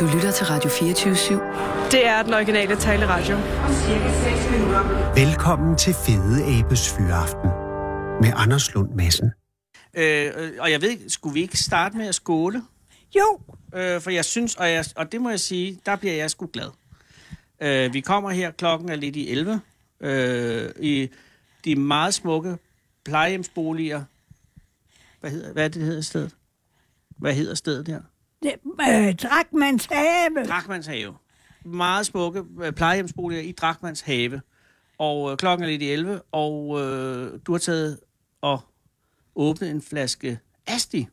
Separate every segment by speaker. Speaker 1: Du lytter til Radio 24
Speaker 2: Det er den originale taleradio.
Speaker 3: Velkommen til Fede Abes Fyraften med Anders Lund Madsen.
Speaker 4: Øh, øh, og jeg ved ikke, skulle vi ikke starte med at skåle?
Speaker 5: Jo,
Speaker 4: Øh, for jeg synes, og, jeg, og det må jeg sige, der bliver jeg sgu glad. Øh, vi kommer her, klokken er lidt i 11, øh, i de meget smukke plejehjemsboliger. Hvad, hedder, hvad er det, det hedder stedet? Hvad hedder stedet her?
Speaker 5: det, øh, Drakmans have.
Speaker 4: Drakmans have. Meget smukke øh, plejehjemsboliger i Drakmans have. Og øh, klokken er lidt i 11, og øh, du har taget og åbnet en flaske Asti.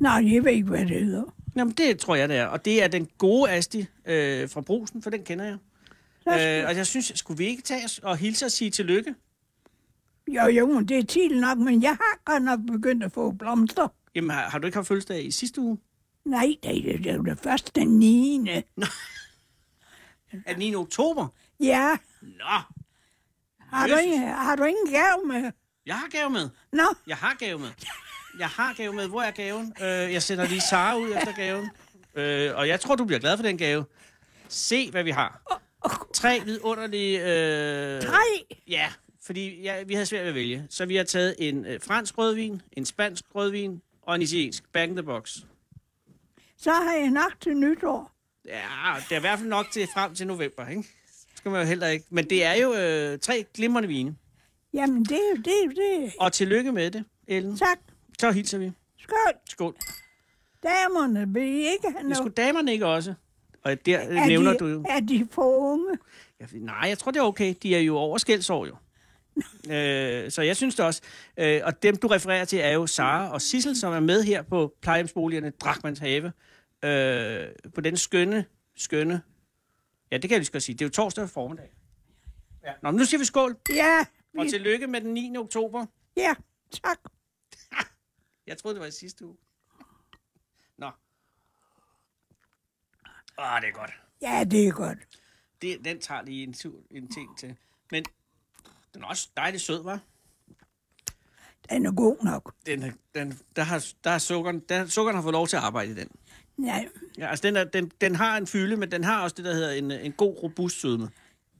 Speaker 5: Nå, jeg ved ikke, hvad det hedder.
Speaker 4: Jamen, det tror jeg, det er. Og det er den gode Asti øh, fra Brusen, for den kender jeg. Øh, og jeg synes, skulle vi ikke tage os og hilse og sige tillykke?
Speaker 5: Jo, jo, men det er tidligt nok, men jeg har godt nok begyndt at få blomster.
Speaker 4: Jamen, har, har du ikke haft fødselsdag i sidste uge?
Speaker 5: Nej, det er- det er jo det først den 9.
Speaker 4: Er den 9. oktober?
Speaker 5: Ja,
Speaker 4: Nå,
Speaker 5: har du, ingen, har du ingen gave med?
Speaker 4: jeg har gave med.
Speaker 5: Nå,
Speaker 4: Jeg har gave med. Jeg har gave med. Hvor er gaven? Øh, jeg sender lige Sara ud efter gaven. Øh, og jeg tror, du bliver glad for den gave. Se, hvad vi har. Tre vidunderlige... Øh,
Speaker 5: tre.
Speaker 4: Ja, fordi ja, vi havde svært ved at vælge. Så vi har taget en øh, fransk rødvin, en spansk rødvin og en italiensk. Back in the box.
Speaker 5: Så har jeg nok til nytår.
Speaker 4: Ja, det er i hvert fald nok til frem til november, ikke? Det skal man jo heller ikke. Men det er jo øh, tre glimrende vine.
Speaker 5: Jamen, det er jo det, er jo det.
Speaker 4: Og tillykke med det, Ellen.
Speaker 5: Tak.
Speaker 4: Så hilser vi.
Speaker 5: Skål.
Speaker 4: Skål.
Speaker 5: Damerne vil I ikke have
Speaker 4: Det
Speaker 5: noget.
Speaker 4: skulle damerne ikke også. Og der
Speaker 5: Er
Speaker 4: øh, nævner
Speaker 5: de,
Speaker 4: du jo...
Speaker 5: Er de for unge?
Speaker 4: Jeg ved- Nej, jeg tror, det er okay. De er jo over skældsår, jo. øh, så jeg synes det også. Øh, og dem, du refererer til, er jo Sara og Sissel, som er med her på plejehjemsboligerne Drakmans Have. Øh, på den skønne, skønne... Ja, det kan jeg lige så godt sige. Det er jo torsdag formiddag. Ja. Nå, men nu siger vi skål.
Speaker 5: Ja,
Speaker 4: Og
Speaker 5: vi,
Speaker 4: tillykke med den 9. oktober.
Speaker 5: ja, tak.
Speaker 4: Jeg troede, det var i sidste uge. Nå. Åh, det er godt.
Speaker 5: Ja, det er godt.
Speaker 4: Det, den tager lige en, tur, en ting til. Men den er også dejligt sød, var.
Speaker 5: Den er god nok.
Speaker 4: Den, er- den, der har, der har sukkeren, der, sukkeren har fået lov til at arbejde i den.
Speaker 5: Ja,
Speaker 4: Ja, altså den, er, den, den har en fylde, men den har også det, der hedder en, øh, en god robust sødme.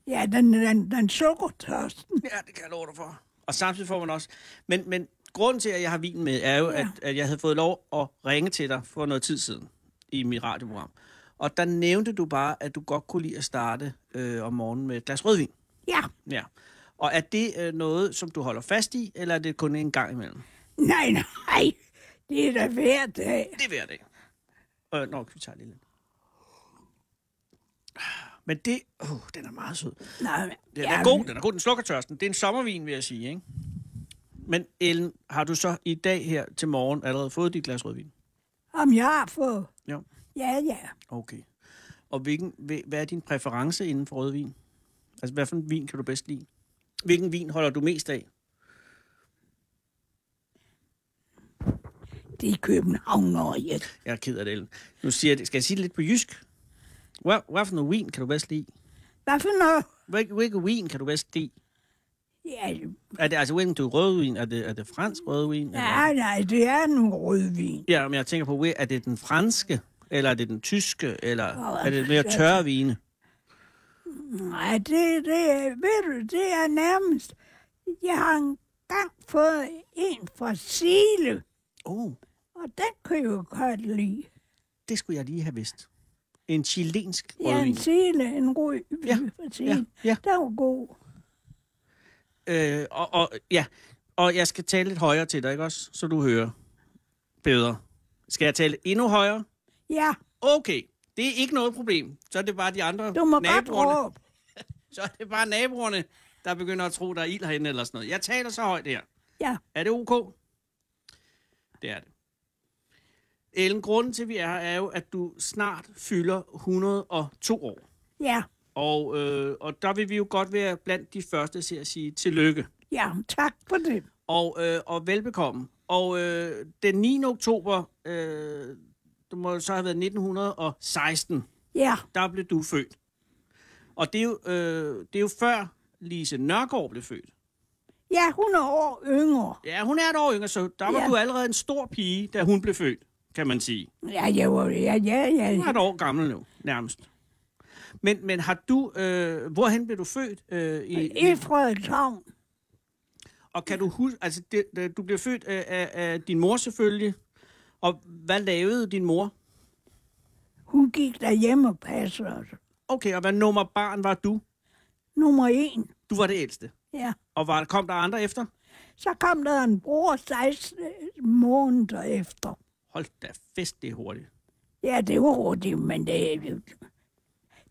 Speaker 5: ja den, den, den sukkertørsten.
Speaker 4: Ja, det kan jeg love dig for. Og samtidig får man også... Men, men grunden til, at jeg har vin med, er jo, ja. at, at jeg havde fået lov at ringe til dig for noget tid siden i mit radioprogram. Og der nævnte du bare, at du godt kunne lide at starte øh, om morgenen med et glas rødvin.
Speaker 5: Ja,
Speaker 4: Ja. Og er det øh, noget, som du holder fast i, eller er det kun en gang imellem?
Speaker 5: nej, nej. Det er da hver dag.
Speaker 4: Det er hver dag. Øh, nå, vi tager lige lidt. Men det... Åh, oh, den er meget sød.
Speaker 5: Nej,
Speaker 4: Den er god, den er god. Den slukker tørsten. Det er en sommervin, vil jeg sige, ikke? Men Ellen, har du så i dag her til morgen allerede fået dit glas rødvin?
Speaker 5: Om jeg har fået.
Speaker 4: Ja.
Speaker 5: Ja, ja.
Speaker 4: Okay. Og hvilken, hvil- hvad er din præference inden for rødvin? Altså, hvad for en vin kan du bedst lide? Hvilken vin holder du mest af?
Speaker 5: Det er København og jeg.
Speaker 4: Jeg er ked af det, Ellen. Nu siger jeg det. Skal jeg sige det lidt på jysk? Hvad, hvad for noget vin kan du bedst lide?
Speaker 5: Hvad for noget?
Speaker 4: Hvil- Hvilken vin kan du bedst lide?
Speaker 5: Ja,
Speaker 4: Er det, altså, hvilken du rødvin? Er det, er det fransk rødvin? Eller?
Speaker 5: nej, nej, det er nu rødvin.
Speaker 4: Ja, men jeg tænker på, er det den franske? Eller er det den tyske? Eller
Speaker 5: Åh, altså,
Speaker 4: er det mere tørre vine?
Speaker 5: Nej, det, det er, ved du, det er nærmest... Jeg har engang fået en fra Sile,
Speaker 4: Åh, oh,
Speaker 5: og den kan jeg jo godt lide.
Speaker 4: det skulle jeg lige have vidst. En chilensk
Speaker 5: Ja,
Speaker 4: rødvin.
Speaker 5: en Sile, en rød
Speaker 4: Ja,
Speaker 5: fra
Speaker 4: Ja,
Speaker 5: Sile.
Speaker 4: ja.
Speaker 5: Den var god.
Speaker 4: Øh, og, og, ja. og jeg skal tale lidt højere til dig, ikke også? Så du hører bedre. Skal jeg tale endnu højere?
Speaker 5: Ja,
Speaker 4: Okay, det er ikke noget problem. Så er det bare de andre
Speaker 5: du må godt
Speaker 4: naboerne.
Speaker 5: råbe.
Speaker 4: Så er det bare naboerne, der begynder at tro, der er ild herinde eller sådan noget. Jeg taler så højt her.
Speaker 5: Ja.
Speaker 4: Er det ok? Det er det. Ellen, grunden til, at vi er her, er jo, at du snart fylder 102 år.
Speaker 5: Ja,
Speaker 4: Og, øh, og der vil vi jo godt være blandt de første til at sige tillykke.
Speaker 5: ja, tak for det.
Speaker 4: Og, øh, og velbekomme. Og øh, den 9. oktober, øh, det må så have været 1916,
Speaker 5: Ja,
Speaker 4: der blev du født. Og det er jo, øh, det er jo før Lise Nørgaard blev født.
Speaker 5: ja, hun er år yngre.
Speaker 4: Ja, hun er et år yngre, så der var
Speaker 5: Ja.
Speaker 4: du allerede en stor pige, da hun blev født. kan man sige.
Speaker 5: Ja, jo, ja, ja, ja.
Speaker 4: Du er et år gammel nu, nærmest. Men, men har du... Øh, hvorhen blev du født? Øh, i,
Speaker 5: I Frederikshavn.
Speaker 4: Og kan du huske... Altså, det, det, du blev født af, af, af din mor selvfølgelig. Og hvad lavede din mor?
Speaker 5: Hun gik derhjemme og passede os.
Speaker 4: Okay, og hvad nummer barn var du?
Speaker 5: Nummer en.
Speaker 4: Du var det ældste.
Speaker 5: Ja.
Speaker 4: Og var, kom der andre efter?
Speaker 5: Så kom der en bror 16 måneder efter.
Speaker 4: Hold da fest, det er hurtigt.
Speaker 5: Ja, det var hurtigt, men det, er jo-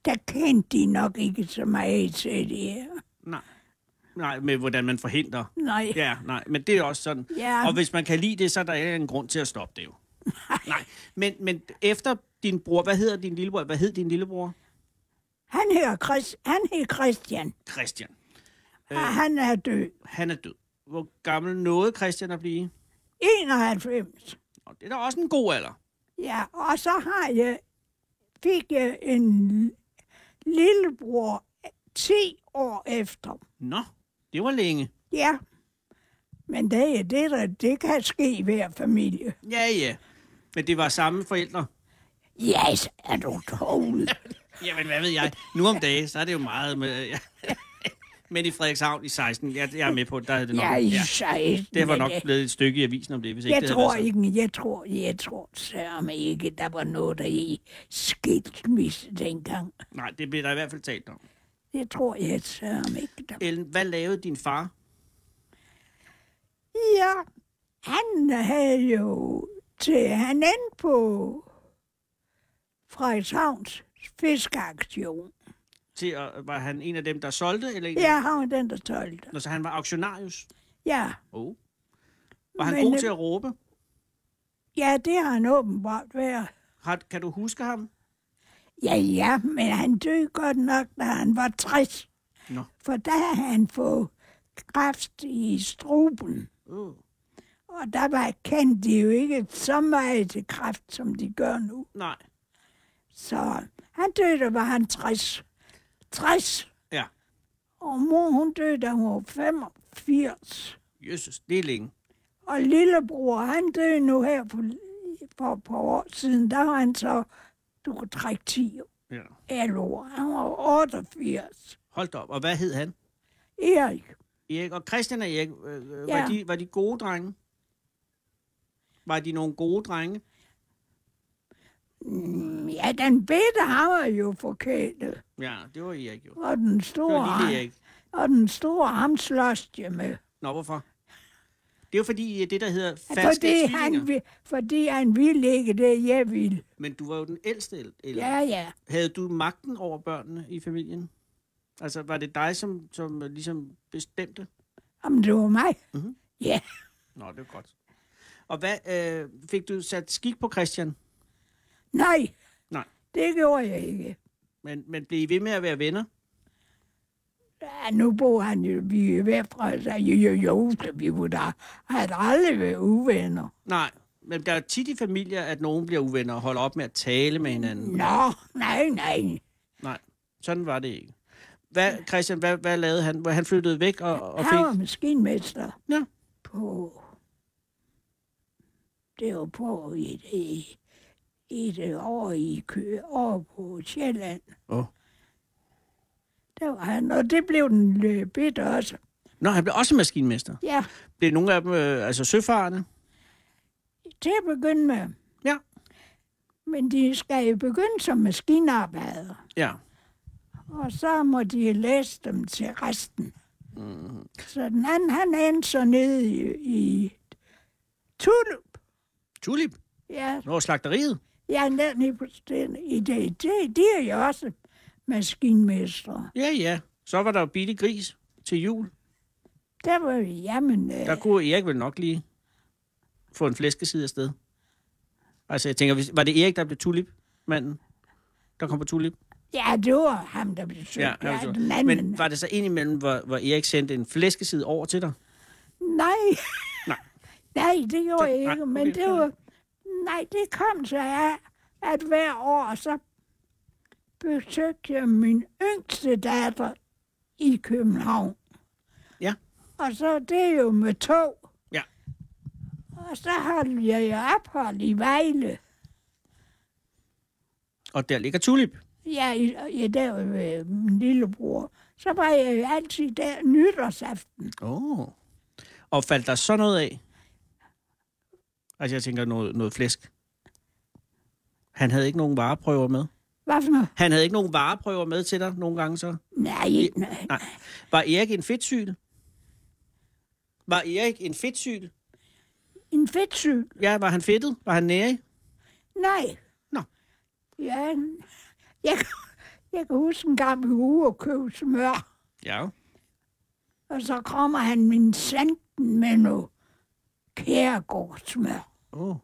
Speaker 5: der kendte de nok ikke så meget til det her.
Speaker 4: Nej. Nej, med hvordan man forhindrer.
Speaker 5: Nej.
Speaker 4: Ja, nej, men det er også sådan.
Speaker 5: Ja.
Speaker 4: Og hvis man kan lide det, så er der ikke en grund til at stoppe det jo. Nej. nej. Men, men efter din bror, hvad hedder din lillebror? Hvad hed din lillebror?
Speaker 5: Han hedder Chris, han hed Christian,
Speaker 4: Christian.
Speaker 5: og han er død.
Speaker 4: Han er død. Hvor gammel nåede Christian at blive?
Speaker 5: 91.
Speaker 4: Og det er da også en god alder.
Speaker 5: Ja, og så har jeg, fik jeg en lillebror 10 år efter.
Speaker 4: Nå, det var længe.
Speaker 5: Ja, men det, er det, der, det kan ske i hver familie.
Speaker 4: Ja, ja. Men det var samme forældre.
Speaker 5: Yes, er du tål?
Speaker 4: Jamen, hvad ved jeg? Nu om dagen, så er det jo meget med... øh, Ja. Men i Frederikshavn i 16, jeg, jeg er med på, der er det nok.
Speaker 5: Ja, i 16.
Speaker 4: Det var
Speaker 5: men
Speaker 4: nok
Speaker 5: jeg-
Speaker 4: blevet et stykke i avisen om det, hvis ikke
Speaker 5: Jeg
Speaker 4: det altså.
Speaker 5: tror
Speaker 4: havde været
Speaker 5: ikke, jeg tror, jeg tror sørme ikke, der var noget, der i skilsmisse dengang.
Speaker 4: sådan. Nej, det blev der i hvert fald talt om.
Speaker 5: Jeg tror, jeg sørme ikke, der
Speaker 4: Ellen, hvad lavede din far?
Speaker 5: Ja, han havde jo til han endte på Frederikshavns fiskeaktion.
Speaker 4: Til at, var han en af dem, der solgte? Eller en af-
Speaker 5: Ja, han var den, der solgte.
Speaker 4: Nå, så han var auktionarius?
Speaker 5: Ja,
Speaker 4: Oh. Var han
Speaker 5: Mm, Men,
Speaker 4: god
Speaker 5: øh,
Speaker 4: til at råbe?
Speaker 5: ja, det har han åbenbart været.
Speaker 4: Har, kan du huske ham?
Speaker 5: Ja, ja, men han døde godt nok, da han var 60.
Speaker 4: Nå.
Speaker 5: For der havde han fået kræft i struben.
Speaker 4: Uh.
Speaker 5: Og der var kendt de jo ikke så meget til kræft, som de gør nu.
Speaker 4: Nej.
Speaker 5: Så han døde, da var han 60. 60!
Speaker 4: Ja.
Speaker 5: Og mor, hun døde, da hun var 85.
Speaker 4: Jesus, det er længe.
Speaker 5: Og lillebror, han døde nu her for, for et par år siden. Der var han så, du kunne trække 10
Speaker 4: Ja.
Speaker 5: eller år. Han var 88.
Speaker 4: Hold da op. Og hvad hed han?
Speaker 5: Erik,
Speaker 4: Erik og Christian og Erik, øh, ja.
Speaker 5: Ja.
Speaker 4: var, de, var de gode drenge? Var de nogle gode drenge?
Speaker 5: mm, ja, den bedte, han var jo forkælet.
Speaker 4: Ja, det var Erik jo.
Speaker 5: Og den
Speaker 4: Det
Speaker 5: store,
Speaker 4: var lille
Speaker 5: ham,
Speaker 4: Erik.
Speaker 5: og den store, ham slås jeg med.
Speaker 4: Nå, hvorfor? Det er jo fordi, I er det, der hedder falske
Speaker 5: Fordi
Speaker 4: tvillinger.
Speaker 5: han, vil- fordi han ville ikke det, jeg ville.
Speaker 4: Men du var jo den ældste. el- Eller?
Speaker 5: Ja, ja.
Speaker 4: Havde du magten over børnene i familien? Altså, var det dig, som, som øh, ligesom bestemte?
Speaker 5: Om det var mig.
Speaker 4: Mhm.
Speaker 5: Ja,
Speaker 4: Nå, det var godt. Og hvad, øh, fik du sat skik på Christian?
Speaker 5: nej.
Speaker 4: Nej.
Speaker 5: Det gjorde jeg ikke.
Speaker 4: Men, men blev I ved med at være venner?
Speaker 5: Ja, nu bor han jo, vi er væk fra, så jo, jo, jo, så vi var der. Han har aldrig været uvenner.
Speaker 4: Nej, men der er tit i familier, at nogen bliver uvenner og holder op med at tale med hinanden.
Speaker 5: Nå, nej, nej.
Speaker 4: Nej, sådan var det ikke. Hvad, Christian, hvad, hvad lavede han? Hvor Han flyttede væk og, og
Speaker 5: Han var
Speaker 4: fik...
Speaker 5: maskinmester
Speaker 4: Ja.
Speaker 5: på... Det var på et, et, et år i kø, over på Sjælland.
Speaker 4: Oh.
Speaker 5: Der var han, og det blev den løbet også.
Speaker 4: Nå, han blev også maskinmester.
Speaker 5: Ja,
Speaker 4: Blev nogle af dem, øh, altså søfarerne?
Speaker 5: til at begynde med.
Speaker 4: Ja.
Speaker 5: Men de skal jo begynde som maskinarbejdere.
Speaker 4: Ja.
Speaker 5: Og så må de læse dem til resten. Mm.
Speaker 4: Mm-hmm.
Speaker 5: Så den anden, han endte så nede i, i Tulup.
Speaker 4: Tulip?
Speaker 5: Ja,
Speaker 4: Nå, slagteriet?
Speaker 5: ja nede på stedet. I det, det, de er jo også maskinmestre.
Speaker 4: Ja, ja. Så var der jo billig gris til jul.
Speaker 5: Der var vi, jamen, øh,
Speaker 4: Der kunne Erik vel nok lige få en flæskeside afsted. Altså, jeg tænker, hvis- var det Erik, der blev tulip-manden? Der kom på tulip?
Speaker 5: ja, det var ham, der blev søgt.
Speaker 4: han var
Speaker 5: den
Speaker 4: så-
Speaker 5: anden.
Speaker 4: Men var det så indimellem, hvor, hvor Erik sendte en flæskeside over til dig?
Speaker 5: Nej.
Speaker 4: Nej.
Speaker 5: Nej, det gjorde jeg
Speaker 4: Så- nej,
Speaker 5: ikke, men
Speaker 4: okay.
Speaker 5: det var... Nej, det kom så af, at hver år så besøgte jeg min yngste datter i København.
Speaker 4: Ja.
Speaker 5: Og så det er jo med tog.
Speaker 4: Ja.
Speaker 5: Og Og så holdt jeg jo ophold i Vejle.
Speaker 4: Og der ligger Tulip.
Speaker 5: Ja, i, i der med min lillebror. Så var jeg jo altid der nytårsaften.
Speaker 4: Oh. Og faldt der så noget af? Altså, jeg tænker noget, noget flæsk. Han havde ikke nogen vareprøver med.
Speaker 5: Hvad for noget?
Speaker 4: Han havde ikke nogen vareprøver med til dig nogle gange så.
Speaker 5: Nej, ikke noget.
Speaker 4: Nej. Var Erik en fedtsyl? Var Erik en fedtsyl?
Speaker 5: En fedtsyg?
Speaker 4: Ja, var han fedtet? Var han nærig?
Speaker 5: Nej.
Speaker 4: Nå.
Speaker 5: Ja, jeg, jeg kan huske en gang vi var ude og købe smør.
Speaker 4: Ja.
Speaker 5: Og så kommer han min sanden med noget kærgårdsmør.
Speaker 4: Oh.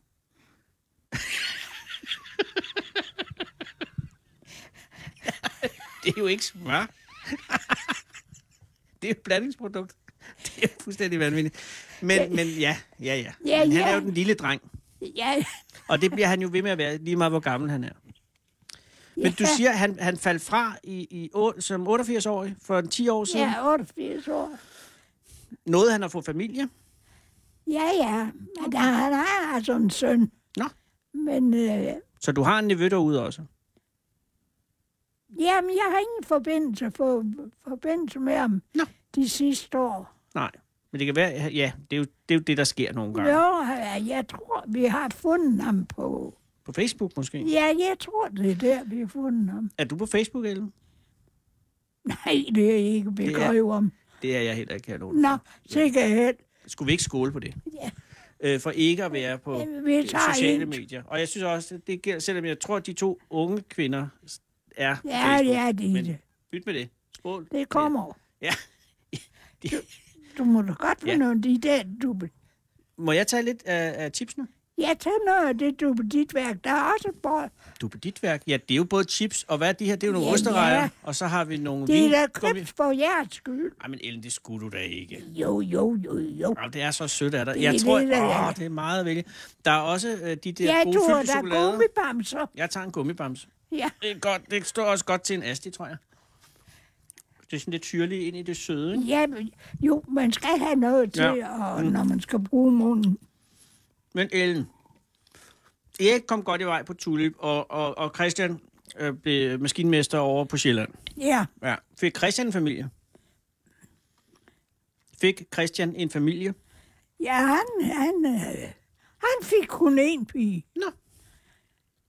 Speaker 4: det er jo ikke smør. det er et blandingsprodukt. Det er fuldstændig vanvittigt. Men, men ja, ja, ja.
Speaker 5: Ja,
Speaker 4: men han
Speaker 5: ja.
Speaker 4: er jo den lille dreng.
Speaker 5: Ja,
Speaker 4: Og det bliver han jo ved med at være, lige meget hvor gammel han er. Men du
Speaker 5: Ja.
Speaker 4: siger, at han, han faldt fra i, i, å- som 88-årig for en 10 år siden.
Speaker 5: jeg er 88 år.
Speaker 4: Nåede han at få familie?
Speaker 5: Ja, ja. Men der, han har altså en søn.
Speaker 4: Nå.
Speaker 5: Men øh,
Speaker 4: Så du har en nevø derude også?
Speaker 5: jamen, jeg har ingen forbindelse, for, forbindelse med ham
Speaker 4: Nå.
Speaker 5: de sidste år.
Speaker 4: Nej. Men det kan være, ja, det er jo det, er jo det der sker nogle gange.
Speaker 5: Jo, jeg tror, vi har fundet ham på.
Speaker 4: På Facebook måske?
Speaker 5: Ja, jeg tror, det er der, vi har fundet ham.
Speaker 4: Er du på Facebook, Ellen?
Speaker 5: Nej, det er ikke begrøv om.
Speaker 4: Det er jeg heller ikke, kan jeg love dig.
Speaker 5: Nå, sikkerhed.
Speaker 4: Skulle vi ikke skåle på det?
Speaker 5: Ja.
Speaker 4: Øh, for ikke at være på
Speaker 5: Jamen, vi
Speaker 4: øh,
Speaker 5: tager
Speaker 4: sociale
Speaker 5: en.
Speaker 4: medier. Og jeg synes også, at det gælder, selvom jeg tror, at de to unge kvinder er på
Speaker 5: Ja,
Speaker 4: Facebook.
Speaker 5: ja, det er
Speaker 4: Men
Speaker 5: det.
Speaker 4: Byt med det. Skål.
Speaker 5: Det kommer.
Speaker 4: Ja. De-
Speaker 5: Du må da godt få
Speaker 4: Ja.
Speaker 5: ja. noget af de der dubbel.
Speaker 4: Må jeg tage lidt af, af tipsene?
Speaker 5: Ja, tag noget af det dubbel dit værk. Der er også bare...
Speaker 4: Du på dit værk? Ja, det er jo både chips, og hvad er de her? Det er jo nogle
Speaker 5: Ja,
Speaker 4: osterejer,
Speaker 5: ja.
Speaker 4: og så har vi nogle
Speaker 5: Det er da
Speaker 4: vingummi.
Speaker 5: krybt for jeres skyld.
Speaker 4: Ej, men Ellen, det skulle du da ikke.
Speaker 5: Jo, jo, jo, jo.
Speaker 4: Jamen, det er så sødt af dig.
Speaker 5: Det er
Speaker 4: Jeg tror,
Speaker 5: det, der er.
Speaker 4: åh, det er meget vælge. Der er også øh, de der
Speaker 5: Ja,
Speaker 4: gode
Speaker 5: du er
Speaker 4: fyldte
Speaker 5: da
Speaker 4: chokolader.
Speaker 5: gummibamser.
Speaker 4: Jeg tager en gummibamse.
Speaker 5: Ja,
Speaker 4: Det, er godt, det står også godt til en asti, tror jeg. Det er sådan lidt syrligt ind i det søde, ikke?
Speaker 5: ja, men- jo, man skal have noget til,
Speaker 4: Ja.
Speaker 5: ja. og når man skal bruge munden.
Speaker 4: Men Ellen, Erik kom godt i vej på Tulip, og, og, og Christian øh, blev maskinmester over på Sjælland.
Speaker 5: Ja,
Speaker 4: Ja. Fik Christian en familie? Fik Christian en familie?
Speaker 5: ja han, han, øh, han fik kun én pige.
Speaker 4: Nå,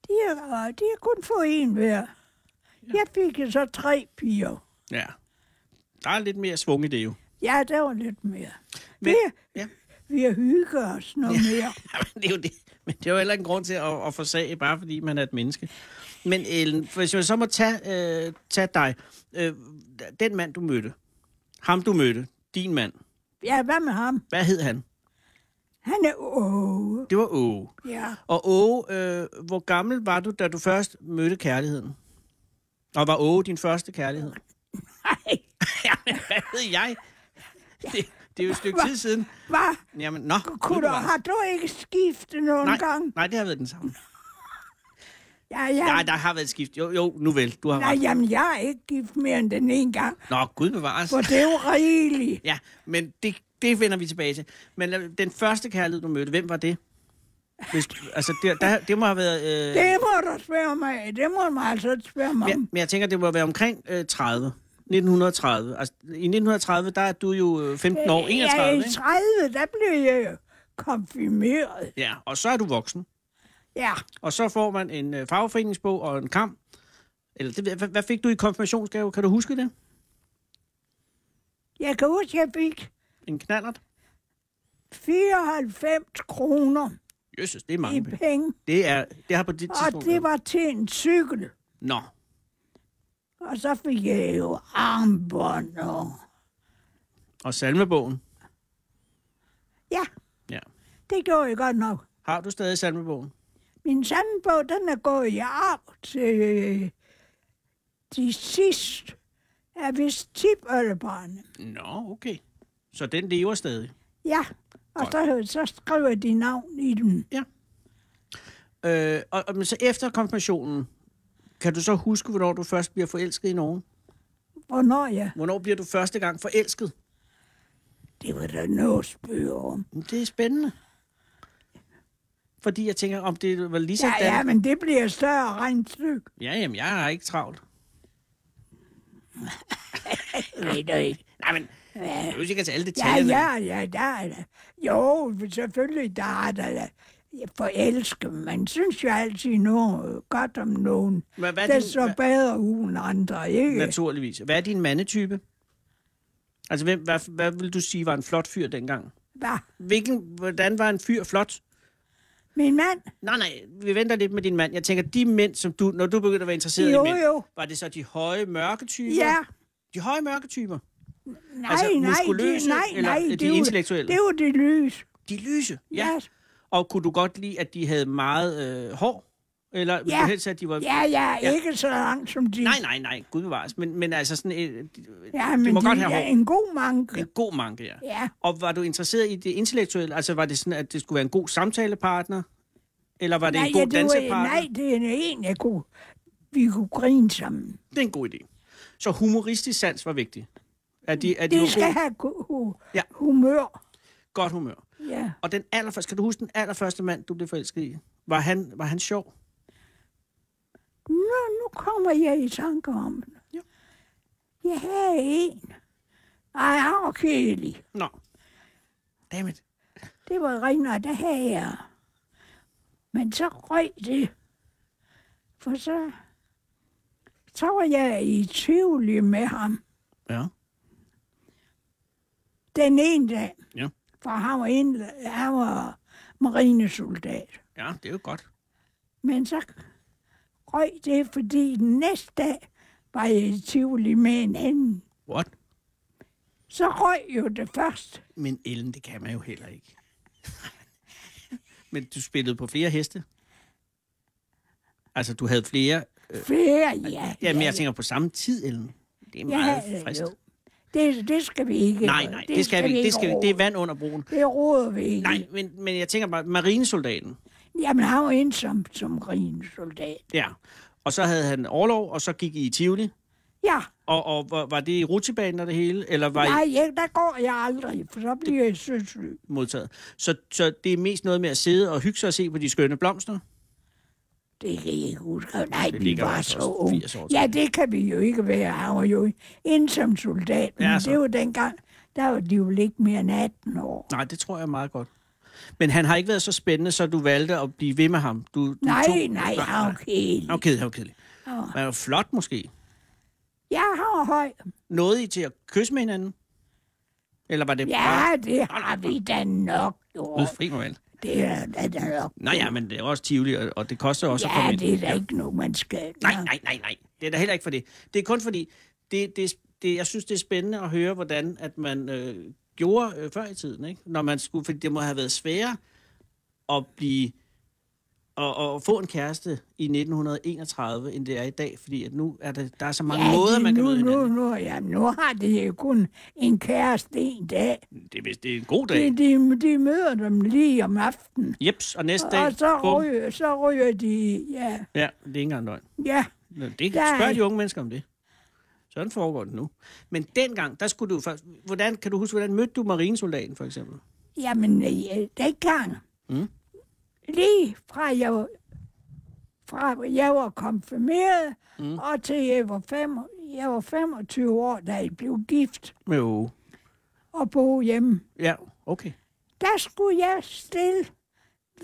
Speaker 5: De har, de har kun fået én hver. Jeg fik jo så tre piger.
Speaker 4: ja. Der er lidt mere svung i det jo.
Speaker 5: Ja, der var lidt mere.
Speaker 4: Men-
Speaker 5: Men, vi,
Speaker 4: ja.
Speaker 5: ja. vi har hygget os noget mere.
Speaker 4: Jamen, det er jo det. Men det er jo heller ikke en grund til at, at forsage, bare fordi man er et menneske. Men Ellen, hvis man så må tage, øh, tage dig, øh, den mand, du mødte, ham du mødte, din mand,
Speaker 5: Ja, hvad med ham?
Speaker 4: hvad hed han?
Speaker 5: Han er åh,
Speaker 4: Det var Åge.
Speaker 5: ja.
Speaker 4: Og Åge, øh, hvor gammel var du, da du først mødte kærligheden? Og var Åge din første kærlighed?
Speaker 5: Ej,
Speaker 4: Jamen, hvad ved jeg? Det, det er jo et stykke tid siden.
Speaker 5: hvad?
Speaker 4: Jamen, nå.
Speaker 5: Kunne du, har du ikke skiftet nogen
Speaker 4: nej,
Speaker 5: gang?
Speaker 4: nej, det har været den samme.
Speaker 5: Ja, ja.
Speaker 4: Nej, der har været skift. Jo, jo, nu vel. Du har
Speaker 5: Nej,
Speaker 4: ret.
Speaker 5: jamen, jeg er ikke gift mere end den ene gang,
Speaker 4: Nå, Gud bevares.
Speaker 5: for det er jo rigeligt.
Speaker 4: Ja, men det, det vender vi tilbage til. Men lad- den første kærlighed, du mødte, hvem var det? Hvis, altså, det, der, det må have været... Øh,
Speaker 5: Det må du spørge mig. af. Det må man altså ikke spørge mig
Speaker 4: men,
Speaker 5: om.
Speaker 4: jeg- men jeg tænker, det må være omkring øh, 30. 1930. Altså, i 1930, der er du jo øh, 15 år, 31,
Speaker 5: ja,
Speaker 4: ikke?
Speaker 5: i 30, der blev jeg jo konfirmeret.
Speaker 4: Ja, og så er du voksen.
Speaker 5: Ja,
Speaker 4: Og så får man en øh, fagforeningsbog og en kamp. Eller det, ved jeg- hvad, hvad fik du i konfirmationsgave? Kan du huske det?
Speaker 5: jeg kan huske, jeg fik
Speaker 4: En knallert?
Speaker 5: 94 kroner
Speaker 4: Jesus, det er
Speaker 5: i
Speaker 4: mange penge.
Speaker 5: penge,
Speaker 4: Det, er, det har på dit
Speaker 5: og
Speaker 4: tidspunkt...
Speaker 5: det
Speaker 4: været-
Speaker 5: var til en cykel.
Speaker 4: Nå,
Speaker 5: Og så fik jeg jo armbånd og...
Speaker 4: og salmebogen.
Speaker 5: Ja,
Speaker 4: Ja.
Speaker 5: det gjorde jeg godt nok.
Speaker 4: Har du stadig salmebogen?
Speaker 5: Min sandbog, den er gået i arv til øh, de sidste af vist tipoldebarne.
Speaker 4: Nå, okay. Så den lever stadig.
Speaker 5: Ja, og så, så skriver de navn i den.
Speaker 4: Øh, og, og, men så efter konfirmationen, kan du så huske, hvornår du først bliver forelsket i nogen?
Speaker 5: Hvornår jeg...
Speaker 4: Hvornår bliver du første gang forelsket?
Speaker 5: Det var der noget at spørge om.
Speaker 4: Det er spændende. Fordi jeg tænker, om det var lige sådan...
Speaker 5: Ja, ja, men det bliver et større regnstykke.
Speaker 4: ja jamen, jeg har ikke travlt.
Speaker 5: Nej, nej.
Speaker 4: Nej, men jeg er jo sikkert til alle
Speaker 5: Ja,
Speaker 4: detaljerne.
Speaker 5: ja, ja, der er der. Jo, selvfølgelig, der er der. der. Jeg forelsker, man synes jo altid noget godt om nogen.
Speaker 4: Hvad, hvad
Speaker 5: Hvad
Speaker 4: er
Speaker 5: det
Speaker 4: din,
Speaker 5: så
Speaker 4: hvad,
Speaker 5: bedre ud end andre, ikke?
Speaker 4: naturligvis. Hvad er din mandetype? Altså, hvem, hvad, hvad vil du sige var en flot fyr dengang?
Speaker 5: Hvad?
Speaker 4: Hvilken, hvordan var en fyr flot?
Speaker 5: Min mand?
Speaker 4: Nej, nej, vi venter lidt med din mand. Jeg tænker, de mænd, som du, når du begyndte at være interesseret
Speaker 5: Jo,
Speaker 4: i mænd,
Speaker 5: jo.
Speaker 4: var det så de høje mørke typer?
Speaker 5: Ja.
Speaker 4: De høje mørke typer?
Speaker 5: Nej,
Speaker 4: Altså,
Speaker 5: nej,
Speaker 4: muskuløse,
Speaker 5: de, nej,
Speaker 4: eller
Speaker 5: nej,
Speaker 4: de
Speaker 5: det er jo-
Speaker 4: intellektuelle?
Speaker 5: Det er jo det lys.
Speaker 4: De lyse?
Speaker 5: Ja.
Speaker 4: Og kunne du godt lide, at de havde meget øh, hår? Eller ville
Speaker 5: Ja.
Speaker 4: du helst, at de var...
Speaker 5: Ja, ja,
Speaker 4: Ja.
Speaker 5: ja, ikke så langt som de.
Speaker 4: Nej, nej, nej, gud bevares. Men, men altså sådan et,
Speaker 5: Ja,
Speaker 4: de
Speaker 5: men
Speaker 4: må
Speaker 5: de
Speaker 4: godt have
Speaker 5: er
Speaker 4: hår.
Speaker 5: en god manke.
Speaker 4: en god manke, ja.
Speaker 5: Ja,
Speaker 4: Og var du interesseret i det intellektuelle? Altså var det sådan, at det skulle være en god samtalepartner? Eller var det
Speaker 5: nej,
Speaker 4: en
Speaker 5: ja,
Speaker 4: god
Speaker 5: det var,
Speaker 4: dansepartner?
Speaker 5: nej, det er en, jeg kunne, vi kunne grine sammen.
Speaker 4: Det er en god idé. Så humoristisk sans var vigtig. Er de, er de,
Speaker 5: De
Speaker 4: de
Speaker 5: skal have gu- hu-
Speaker 4: Ja.
Speaker 5: humør.
Speaker 4: godt humør?
Speaker 5: Ja.
Speaker 4: Og den allerførste, kan du huske den allerførste mand, du blev forelsket i? Var han, var han sjov?
Speaker 5: Nå, nu kommer jeg i tanke om det.
Speaker 4: Ja.
Speaker 5: Jeg havde en. Ej, han var kedelig.
Speaker 4: Nå. Dammit.
Speaker 5: Det var rent, der havde jeg. Men så røg det. For så, så var jeg i tvivl med ham
Speaker 4: Ja.
Speaker 5: den ene dag.
Speaker 4: Ja.
Speaker 5: For han var, ind, han var marinesoldat.
Speaker 4: Ja, det er jo godt.
Speaker 5: Men så røg det, fordi den næste dag var jeg i tvivl med en anden.
Speaker 4: What?
Speaker 5: Så røg jo det først.
Speaker 4: Men Ellen, det kan man jo heller ikke. Men du spillede på flere heste? Altså, du havde flere... Øh,
Speaker 5: Flere, ja.
Speaker 4: jamen, jeg tænker på samme tid, Ellen. Det er meget
Speaker 5: ja,
Speaker 4: frist.
Speaker 5: jo. Det, det skal vi ikke.
Speaker 4: Nej, nej, det, skal vi ikke. Det, skal vi, det er vand under broen.
Speaker 5: Det råder vi ikke.
Speaker 4: Nej, men, men jeg tænker bare, marinesoldaten,
Speaker 5: Jamen, han var ensom som soldat.
Speaker 4: ja. Og så havde han overlov, og så gik I i Tivoli.
Speaker 5: Ja,
Speaker 4: Og, og var, var det i rutsjebanen og det hele, eller var
Speaker 5: nej,
Speaker 4: I
Speaker 5: ja, der går jeg aldrig, for så bliver jeg søsyg.
Speaker 4: modtaget? Så, så det er mest noget med at sidde og hygge sig og se på de skønne blomster?
Speaker 5: Det kan jeg ikke huske. Nej,
Speaker 4: Det
Speaker 5: vi
Speaker 4: ligger
Speaker 5: var
Speaker 4: altså
Speaker 5: så
Speaker 4: også
Speaker 5: unge.
Speaker 4: 80 år
Speaker 5: Ja, det kan vi jo ikke være. Han var jo ensom soldat. Men
Speaker 4: Ja,
Speaker 5: ja,
Speaker 4: så.
Speaker 5: det var dengang, der var de jo ikke mere end 18 år.
Speaker 4: Nej, det tror jeg meget godt. Men han har ikke været så spændende, så du valgte at blive ved med ham? Du, du tog...
Speaker 5: Nej, nej, han var kedelig.
Speaker 4: Okay, han var kedelig.
Speaker 5: Han var-
Speaker 4: Han var flot måske.
Speaker 5: Ja, han var høj.
Speaker 4: Nåede I til at kysse med hinanden? Eller var det bare...
Speaker 5: Ja, det har vi da nok, jo.
Speaker 4: Gud, fri mig vel.
Speaker 5: Det er da da nok.
Speaker 4: Nå ja, men det er også tivoli, og, og det koster også at komme
Speaker 5: Ja,
Speaker 4: ind.
Speaker 5: det er da ikke noget, man skal.
Speaker 4: Nej, nej, nej, nej. Det er da heller ikke for det. Det er kun fordi, det, det, det, jeg synes, det er spændende at høre, hvordan at man øh, gjorde øh, før i tiden, ikke? Når man skulle, fordi det må have været sværere at blive og, og få en kæreste i 1931, end det er i dag, fordi at nu er der, der er så mange ja, måder,
Speaker 5: det-
Speaker 4: man kan
Speaker 5: nu,
Speaker 4: møde
Speaker 5: nu,
Speaker 4: hinanden.
Speaker 5: nu, ja, nu har de jo kun en kæreste en dag.
Speaker 4: Det, er vist- det er en god
Speaker 5: De,
Speaker 4: dag.
Speaker 5: de, de møder dem lige om aftenen.
Speaker 4: Jeps, og næste dag...
Speaker 5: Og så
Speaker 4: bum.
Speaker 5: ryger, så ryger de, ja,
Speaker 4: Ja, det er ikke engang løgn.
Speaker 5: ja,
Speaker 4: Nå, Det
Speaker 5: Der er-
Speaker 4: spørger de unge mennesker om det. Sådan foregår det nu. Men dengang, der skulle du først... Hvordan, kan du huske, hvordan mødte du marinesoldaten, for eksempel?
Speaker 5: jamen, ja, dengang.
Speaker 4: Mm.
Speaker 5: Lige fra jeg, var- fra jeg var konfirmeret, mm. og til jeg var, fem, jeg var 25 år, da jeg blev gift
Speaker 4: Jo.
Speaker 5: og boede hjemme.
Speaker 4: Ja, okay.
Speaker 5: der skulle jeg stille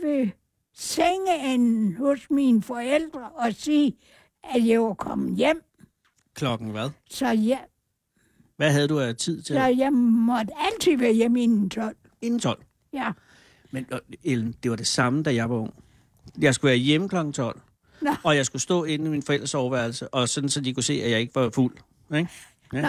Speaker 5: ved sengeenden hos mine forældre og sige, at jeg var kommet hjem,
Speaker 4: Klokken hvad?
Speaker 5: så jeg,
Speaker 4: Hvad havde du af tid til?
Speaker 5: så jeg måtte altid være hjemme inden 12.
Speaker 4: Inden 12.
Speaker 5: Ja.
Speaker 4: Men øh, Ellen, det var det samme, da jeg var ung. Jeg skulle være hjemme klokken 12.
Speaker 5: Nå.
Speaker 4: Og jeg skulle stå inde i min forældres soveværelse, og sådan, så de kunne se, at jeg ikke var fuld. Ikke?
Speaker 5: Nå,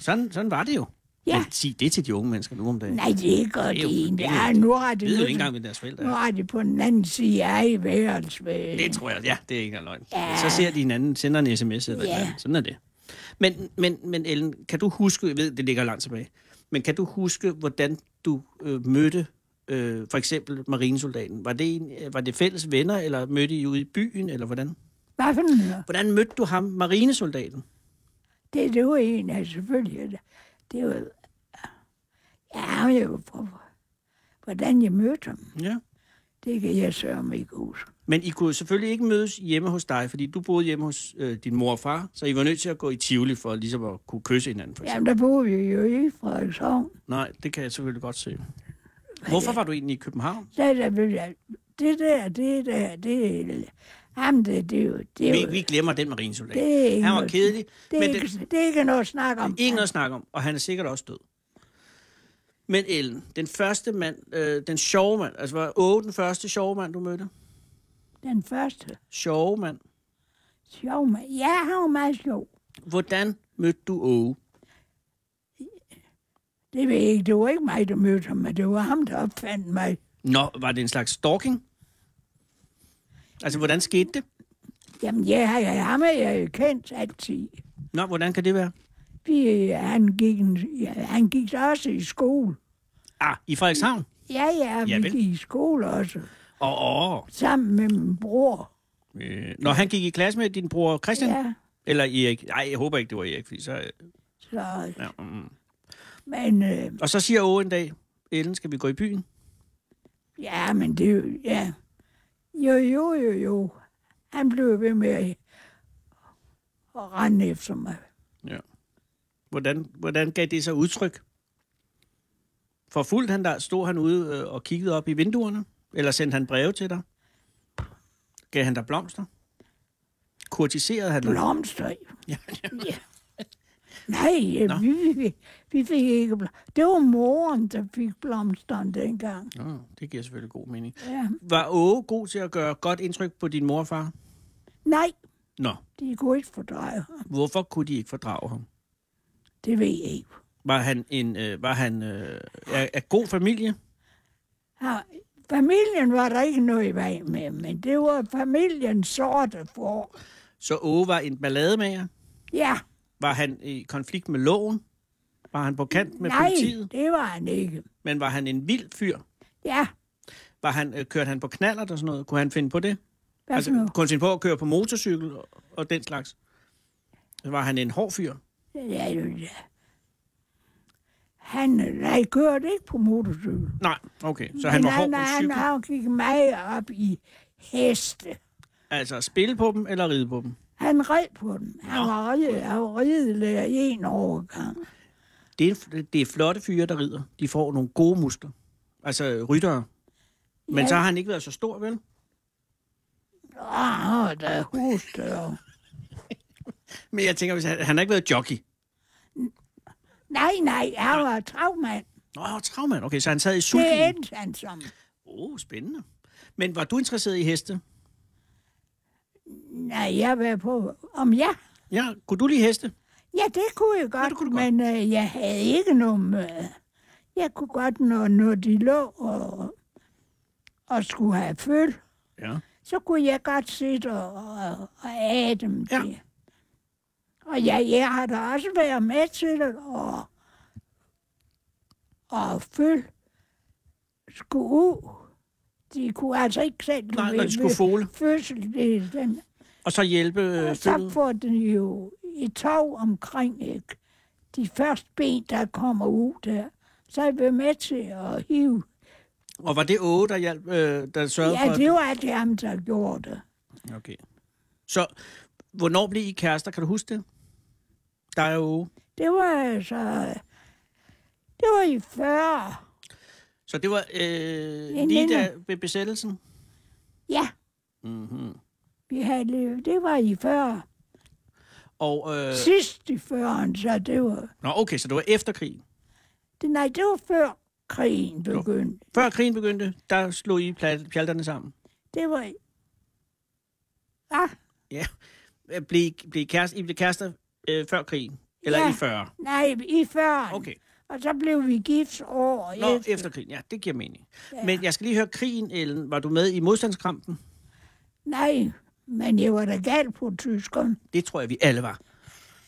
Speaker 4: Sådan, sådan var det jo.
Speaker 5: Ja.
Speaker 4: Men sig det til de unge mennesker nu om dagen.
Speaker 5: Nej, det er godt
Speaker 4: Det er jo-
Speaker 5: egentlig.
Speaker 4: det er
Speaker 5: Ja,
Speaker 4: jo-
Speaker 5: nu har
Speaker 4: det
Speaker 5: det,
Speaker 4: ved jo
Speaker 5: nu-
Speaker 4: ikke engang, hvem deres forældre
Speaker 5: nu
Speaker 4: er.
Speaker 5: har det på den anden side af i værelse.
Speaker 4: Det tror jeg, ja, det er ikke engang løgn.
Speaker 5: Ja.
Speaker 4: Så ser de hinanden, sender en sms eller
Speaker 5: Ja.
Speaker 4: yeah. Sådan er det. Men, men, men Ellen, kan du huske, jeg ved, det ligger langt tilbage, men kan du huske, hvordan du øh, mødte øh, for eksempel marinesoldaten? Var det, en, øh, var det fælles venner, eller mødte I ude i byen, eller hvordan?
Speaker 5: Hvad for noget?
Speaker 4: Hvordan mødte du ham, marinesoldaten?
Speaker 5: Det, det var en af selvfølgelig. Det var... Ja, jeg var for, hvordan jeg mødte ham.
Speaker 4: Ja.
Speaker 5: Det kan jeg sørge ikke huske.
Speaker 4: Men I kunne selvfølgelig ikke mødes hjemme hos dig, fordi du boede hjemme hos øh, din mor og far, så I var nødt til at gå i Tivoli for ligesom at kunne kysse hinanden, for
Speaker 5: Jamen,
Speaker 4: eksempel.
Speaker 5: der boede vi jo i Frederikshavn.
Speaker 4: Jamen. Nej, det kan jeg selvfølgelig godt se. Hvorfor var du egentlig i København?
Speaker 5: Der, der blev jeg, det der, det der, det Ham, det, det, er jo- det, er
Speaker 4: Vi,
Speaker 5: jo-
Speaker 4: vi glemmer den marinesoldat.
Speaker 5: det er ikke
Speaker 4: Han var
Speaker 5: noget-
Speaker 4: kedelig,
Speaker 5: Det er,
Speaker 4: men
Speaker 5: ikke, det, er ikke noget at snakke om. Altså,
Speaker 4: Ingen at snakke om, og han er sikkert også død. Men Ellen, den første mand, øh, den sjove mand, altså var Åge den første sjove mand, du mødte?
Speaker 5: Den første.
Speaker 4: Sjove mand.
Speaker 5: Sjov mand. Ja, han var meget sjov.
Speaker 4: Hvordan mødte du Åge?
Speaker 5: Det ved jeg ikke. Det var ikke mig, der mødte ham, men det var ham, der opfandt mig.
Speaker 4: Nå, var det en slags stalking? Altså, hvordan skete det?
Speaker 5: Jamen, ja, jeg, jeg, ham er jeg jo kendt altid.
Speaker 4: Nå, hvordan kan det være?
Speaker 5: Vi, han, gik en, ja, han gik så også i skole.
Speaker 4: Ah, i Frederikshavn?
Speaker 5: Ja, ja, vi
Speaker 4: Javel.
Speaker 5: gik i skole også.
Speaker 4: Åh, åh.
Speaker 5: Sammen med min bror.
Speaker 4: Øh, Nå, han gik i klasse med din bror Christian?
Speaker 5: Ja,
Speaker 4: Eller Erik? Nej, jeg håber ikke, det var Erik, fordi så... øh,
Speaker 5: så,
Speaker 4: Ja, mm.
Speaker 5: men, øh,
Speaker 4: Og så siger Åge en dag, Ellen, skal vi gå i byen?
Speaker 5: ja, men det er jo, ja. Jo, jo, jo, jo. Han blev ved med at at rende efter mig.
Speaker 4: Hvordan, hvordan gav det sig udtryk? For fuldt han der, stod han ude øh, og kiggede op i vinduerne? Eller sendte han breve til dig? Gav han dig blomster? Kurtiserede han dig?
Speaker 5: Blomster.
Speaker 4: Ja,
Speaker 5: ja. Nej, ja, vi, vi, vi fik ikke blomster. Det var moren, der fik blomsterne dengang.
Speaker 4: Nå, det giver selvfølgelig god mening.
Speaker 5: Ja.
Speaker 4: Var Åge god til at gøre godt indtryk på din morfar?
Speaker 5: Nej,
Speaker 4: Nå,
Speaker 5: de kunne ikke fordrage ham.
Speaker 4: hvorfor kunne de ikke fordrage ham?
Speaker 5: Det ved jeg ikke.
Speaker 4: Var han en, øh, var han, øh, er, er god familie?
Speaker 5: Ja, familien var der ikke noget i vej med, men det var familiens sorte for.
Speaker 4: Så Åge var en ballademager?
Speaker 5: Ja,
Speaker 4: Var han i konflikt med loven? Var han på kant med
Speaker 5: nej,
Speaker 4: politiet?
Speaker 5: det var han ikke.
Speaker 4: Men var han en vild fyr?
Speaker 5: Ja,
Speaker 4: Var han, øh, kørte han på knaller og sådan noget? Kunne han finde på det?
Speaker 5: hvad altså, nu?
Speaker 4: kunne han finde på at køre på motorcykel og, og den slags? Var han en hård fyr?
Speaker 5: Ja, jo, ja. Han nej, kørte ikke på motorcykel.
Speaker 4: Nej, okay. Så han
Speaker 5: Men
Speaker 4: var hård
Speaker 5: han,
Speaker 4: på
Speaker 5: han,
Speaker 4: cykel?
Speaker 5: han gik meget op i heste.
Speaker 4: Altså at spille på dem eller ride på dem?
Speaker 5: Han red på dem. Han var, ride, han var ridelærer i en overgang.
Speaker 4: Det er, det er flotte fyre, der rider. De får nogle gode muskler. Altså øh, ryttere. Men
Speaker 5: Ja.
Speaker 4: så har han ikke været så stor, vel?
Speaker 5: Ah, der er husdør.
Speaker 4: Men jeg tænker, hvis han, han har ikke været jockey.
Speaker 5: Nej, nej, han var travmand.
Speaker 4: Nå, travmand. Okay, så han sad i sulken.
Speaker 5: Det
Speaker 4: Åh,
Speaker 5: endte han som.
Speaker 4: oh, spændende. Men var du interesseret i heste?
Speaker 5: Nej, jeg var på, om jeg
Speaker 4: Ja, kunne du lide heste?
Speaker 5: Ja, det kunne jeg godt,
Speaker 4: det kunne du
Speaker 5: men øh, jeg havde ikke nogen... Øh, jeg kunne godt, når, når de lå og, og skulle have føl,
Speaker 4: Ja.
Speaker 5: så kunne jeg godt sidde og, og, og æde dem
Speaker 4: Ja.
Speaker 5: til. Og jeg, jeg har da også været med til det, og, og føl skulle ud. De kunne altså ikke selv... du
Speaker 4: Nej,
Speaker 5: ved,
Speaker 4: når de skulle
Speaker 5: ved
Speaker 4: fole.
Speaker 5: Fødsel, det, den,
Speaker 4: Og så hjælpe øh,
Speaker 5: og så
Speaker 4: følget?
Speaker 5: får den jo et tog omkring ikke? de første ben, der kommer ud der. Så er vi med til at hive.
Speaker 4: Og var det Åge, der, hjalp, øh, der sørgede for...
Speaker 5: Ja,
Speaker 4: at-
Speaker 5: det var alt ham, der gjorde det.
Speaker 4: Okay. Så, hvornår blev I kærester? Kan du huske det? Der er jo...
Speaker 5: Det var altså... Det var i 40.
Speaker 4: Så det var øh,
Speaker 5: Jeg
Speaker 4: lige
Speaker 5: mener-
Speaker 4: der ved besættelsen?
Speaker 5: Ja,
Speaker 4: Mm-hmm.
Speaker 5: vi havde levet. Det var i 40.
Speaker 4: Og, øh,
Speaker 5: Sidst i 40'erne, så det var...
Speaker 4: nå, okay, så det var efter krigen.
Speaker 5: Det, nej, det var før krigen begyndte.
Speaker 4: Før krigen begyndte, der slog I pla- pjalterne sammen.
Speaker 5: Det var... Ah,
Speaker 4: Ja. Øh, Blev, I- blev I, kærester, I blev kærester øh, før krigen? Eller
Speaker 5: Ja.
Speaker 4: i 40?
Speaker 5: nej, i 40'erne.
Speaker 4: Okay.
Speaker 5: Og så blev vi gift år
Speaker 4: Nå,
Speaker 5: efter.
Speaker 4: efter krigen. Ja, det giver mening. Ja. Men jeg skal lige høre krigen, Ellen. Var du med i modstandskampen?
Speaker 5: Nej, men jeg var da gal på tyskerne.
Speaker 4: Det tror jeg, vi alle var.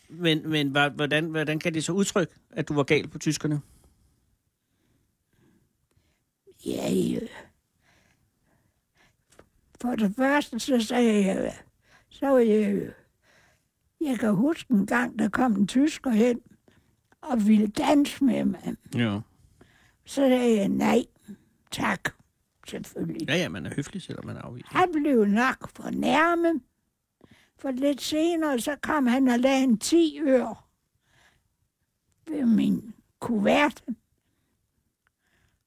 Speaker 4: Men, men hva- hvordan, hvordan kan det så udtrykke, at du var gal på tyskerne?
Speaker 5: Ja, øh. For det første, så sagde jeg, øh, så var jeg, øh, jeg kan huske en gang, der kom en tysker hen og ville danse med mig.
Speaker 4: Ja.
Speaker 5: Så sagde jeg, nej, tak, selvfølgelig.
Speaker 4: Ja, ja, man er høflig, selvom man er afvist.
Speaker 5: Han blev nok for nærme. For lidt senere, så kom han og lagde en 10 øre ved min kuvert.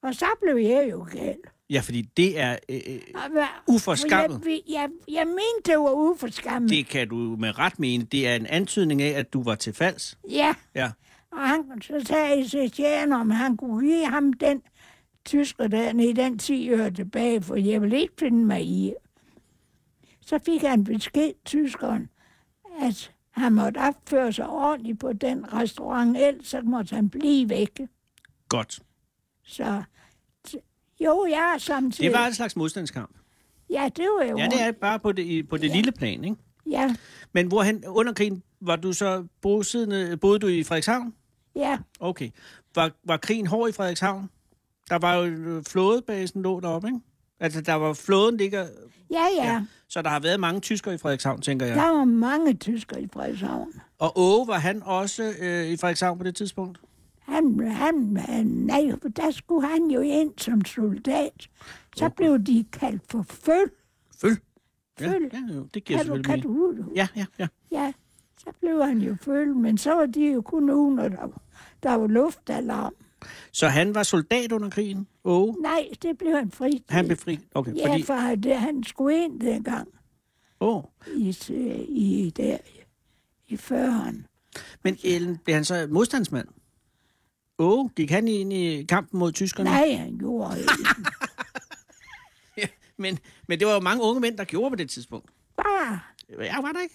Speaker 5: Og så blev jeg jo gal.
Speaker 4: Ja, fordi det er... Øh, øh,
Speaker 5: Og hvad-
Speaker 4: Uforskammet.
Speaker 5: for Jeg, jeg, jeg mente, det var uforskammet. Det...
Speaker 4: det kan du med ret mene. Det er en antydning af, at du var til falds.
Speaker 5: Ja,
Speaker 4: Ja.
Speaker 5: og han, så sagde Setian, om han kunne give ham den tysker dernede, den 10 øre tilbage, for jeg vil ikke finde mig i. Så fik han besked, tyskeren, at han måtte opføre sig ordentligt på den restaurant, ellers så måtte han blive væk.
Speaker 4: Godt.
Speaker 5: Så t- jo, jeg er samtidig...
Speaker 4: Det var en slags modstandskamp.
Speaker 5: Ja, det var jo...
Speaker 4: Ja, det er bare på det, i- på det lille plan, ikke?
Speaker 5: Ja,
Speaker 4: Men hvorhen, under krigen, var du så bosiddende, boede du i Frederikshavn?
Speaker 5: ja,
Speaker 4: Okay. Var, var krigen hård i Frederikshavn? Der var jo øh, flådebasen lå deroppe, ikke? Altså, der var flåden ligger...
Speaker 5: ja, ja. ja.
Speaker 4: Så der har været mange tyskere i Frederikshavn, tænker jeg.
Speaker 5: Der var mange tyskere i Frederikshavn.
Speaker 4: Og Åge, var han også øh, i Frederikshavn på det tidspunkt?
Speaker 5: Han, han, han, nej, for der skulle han jo ind som soldat. Så okay. blev de kaldt for føl.
Speaker 4: Føl. Ja,
Speaker 5: Føl.
Speaker 4: ja, jo, det giver
Speaker 5: Kan du,
Speaker 4: selvfølgelig
Speaker 5: kan
Speaker 4: mening.
Speaker 5: du, du,
Speaker 4: Ja, ja, ja.
Speaker 5: ja. Så blev han jo føl, men så var de jo kun uge, når der, var- der var luftalarm.
Speaker 4: Så han var soldat under krigen, Åge?
Speaker 5: Nej, det blev han fri.
Speaker 4: Han blev fri? Okay,
Speaker 5: Ja,
Speaker 4: fordi...
Speaker 5: fordi... for det, han skulle ind dengang
Speaker 4: Åh.
Speaker 5: i, se- i, der, i 40'erne.
Speaker 4: Men Ellen, blev han så modstandsmand? Åge, gik han ind i kampen mod tyskerne?
Speaker 5: Nej, han gjorde ikke.
Speaker 4: Men, men det var jo mange unge mænd, der gjorde på det tidspunkt.
Speaker 5: Bare,
Speaker 4: Jeg var der ikke.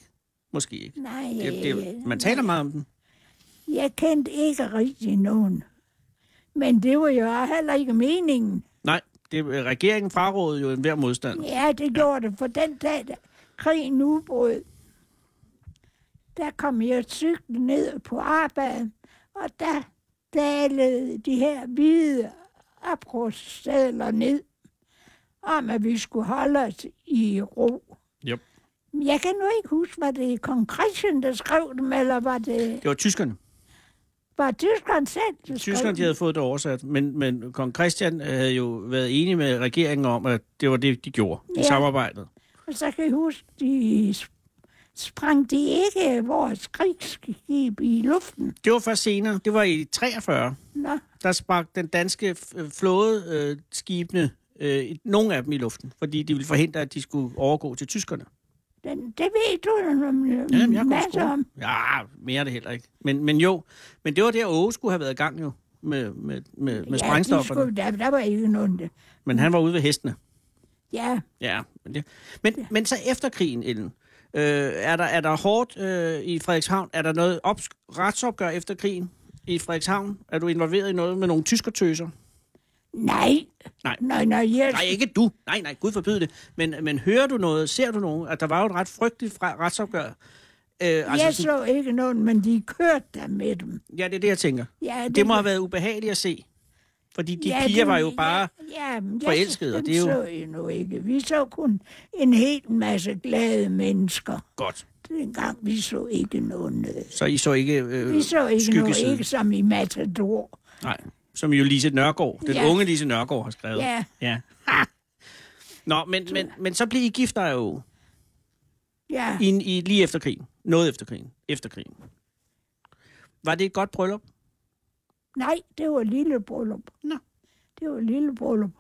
Speaker 4: Måske ikke.
Speaker 5: nej. øh,
Speaker 4: Det, det, man taler meget om den.
Speaker 5: Jeg kendte ikke rigtig nogen. Men det var jo heller ikke meningen.
Speaker 4: Nej, det, regeringen frarådede jo enhver modstand.
Speaker 5: Ja, det gjorde det, for den dag, da krigen udbrød, der kom jeg cyklen ned på arbejdet, og der dalede de her hvide oprustsadler ned, om at vi skulle holde os i ro.
Speaker 4: Yep.
Speaker 5: Jeg kan nu ikke huske, var det Kong Christian, der skrev dem, eller var det
Speaker 4: Det var tyskerne.
Speaker 5: var tyskeren selv, der skrev
Speaker 4: Tyskerne de
Speaker 5: dem?
Speaker 4: havde fået det oversat, men, men kong Christian havde jo været enig med regeringen om, at det var det, de gjorde ja. i
Speaker 5: Ja.
Speaker 4: samarbejdet.
Speaker 5: Og så kan jeg huske, de sp- sprang de ikke vores krigsskib i luften.
Speaker 4: Det var først senere. Det var i 43.
Speaker 5: Nå,
Speaker 4: Der sprang den danske øh, flåde øh, skibene, øh, i- nogle af dem i luften, fordi de ville forhindre, at de skulle overgå til tyskerne.
Speaker 5: den, det ved du jo om-
Speaker 4: Jamen, jeg kunne
Speaker 5: masser om.
Speaker 4: Ja, mere er det heller ikke. Men, men jo, men det var der, Åge skulle have været i gang jo, med, med, med, med
Speaker 5: ja, de
Speaker 4: sprængstofferne.
Speaker 5: skulle, der, der var ikke nogen. der-
Speaker 4: Men han var ude ved hestene.
Speaker 5: Ja,
Speaker 4: Ja, men, det. men, ja. men så efter krigen, Ellen, øh, er, der, er der hårdt øh, i Frederikshavn? Er der noget op, retsopgør efter krigen i Frederikshavn? Er du involveret i noget med nogle tyskertøser?
Speaker 5: nej.
Speaker 4: Nej.
Speaker 5: Nej, nej, jeg,
Speaker 4: Nej, ikke du. Nej, nej, Gud forbyde det. Men, men hører du noget? Ser du nogen? At der var jo et ret frygteligt fra, retsopgør. Øh, altså,
Speaker 5: jeg så ikke nogen, men de kørte der med dem.
Speaker 4: ja, det er det, jeg tænker.
Speaker 5: Ja,
Speaker 4: Det må have været ubehageligt at se. Fordi de
Speaker 5: ja,
Speaker 4: ja, piger
Speaker 5: det-
Speaker 4: var jo bare...
Speaker 5: ja, ja, men jeg-
Speaker 4: forelskede, og
Speaker 5: dem
Speaker 4: det er jo-
Speaker 5: så jeg nu ikke. Vi så kun en hel masse glade mennesker.
Speaker 4: Godt.
Speaker 5: Dengang vi så ikke nogen... Øh,
Speaker 4: Så I så ikke øh,
Speaker 5: Vi så ikke noget,
Speaker 4: skyggesiden?
Speaker 5: ikke som i Matador.
Speaker 4: Nej, som jo Lise Nørgaard, den
Speaker 5: Ja.
Speaker 4: unge Lise Nørgaard har skrevet.
Speaker 5: Ja.
Speaker 4: ja. Ha! Nå, men, men, men så blev I gift der jo
Speaker 5: Ja,
Speaker 4: i, i, lige efter krigen. Noget efter krigen. Efter krigen. Var det et godt bryllup?
Speaker 5: nej, det var lille bryllup.
Speaker 4: Nå.
Speaker 5: Det var lille bryllup.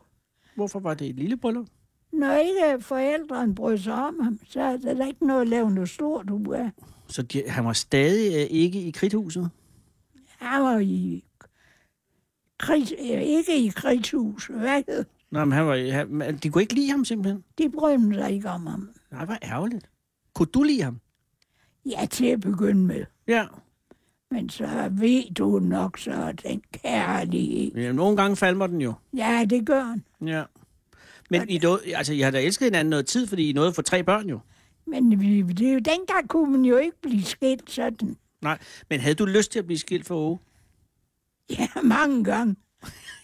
Speaker 4: Hvorfor var det et lille bryllup?
Speaker 5: Når ikke forældrene brød sig om ham, så er der da ikke noget at lave noget stort ud af.
Speaker 4: Så de, han var stadig øh, ikke i kridthuset?
Speaker 5: Han var i... Krigs, øh, ikke i krigshus, hvad hed?
Speaker 4: Nej, men han var, han, men de kunne ikke lide ham simpelthen.
Speaker 5: De brød sig ikke om ham.
Speaker 4: Nej, hvor ærgerligt. Kunne du lide ham?
Speaker 5: Ja, til at begynde med.
Speaker 4: Ja.
Speaker 5: Men så ved du nok så er den kærlige.
Speaker 4: ja nogle gange falmer den jo.
Speaker 5: Ja, det gør han.
Speaker 4: Ja. Men I, nåede- altså, I har da elsket hinanden noget tid, fordi I nåede at få tre børn jo.
Speaker 5: Men vi, det, er jo- dengang kunne man jo ikke blive skilt sådan.
Speaker 4: Nej, men havde du lyst til at blive skilt for Åge?
Speaker 5: Ja, mange gange.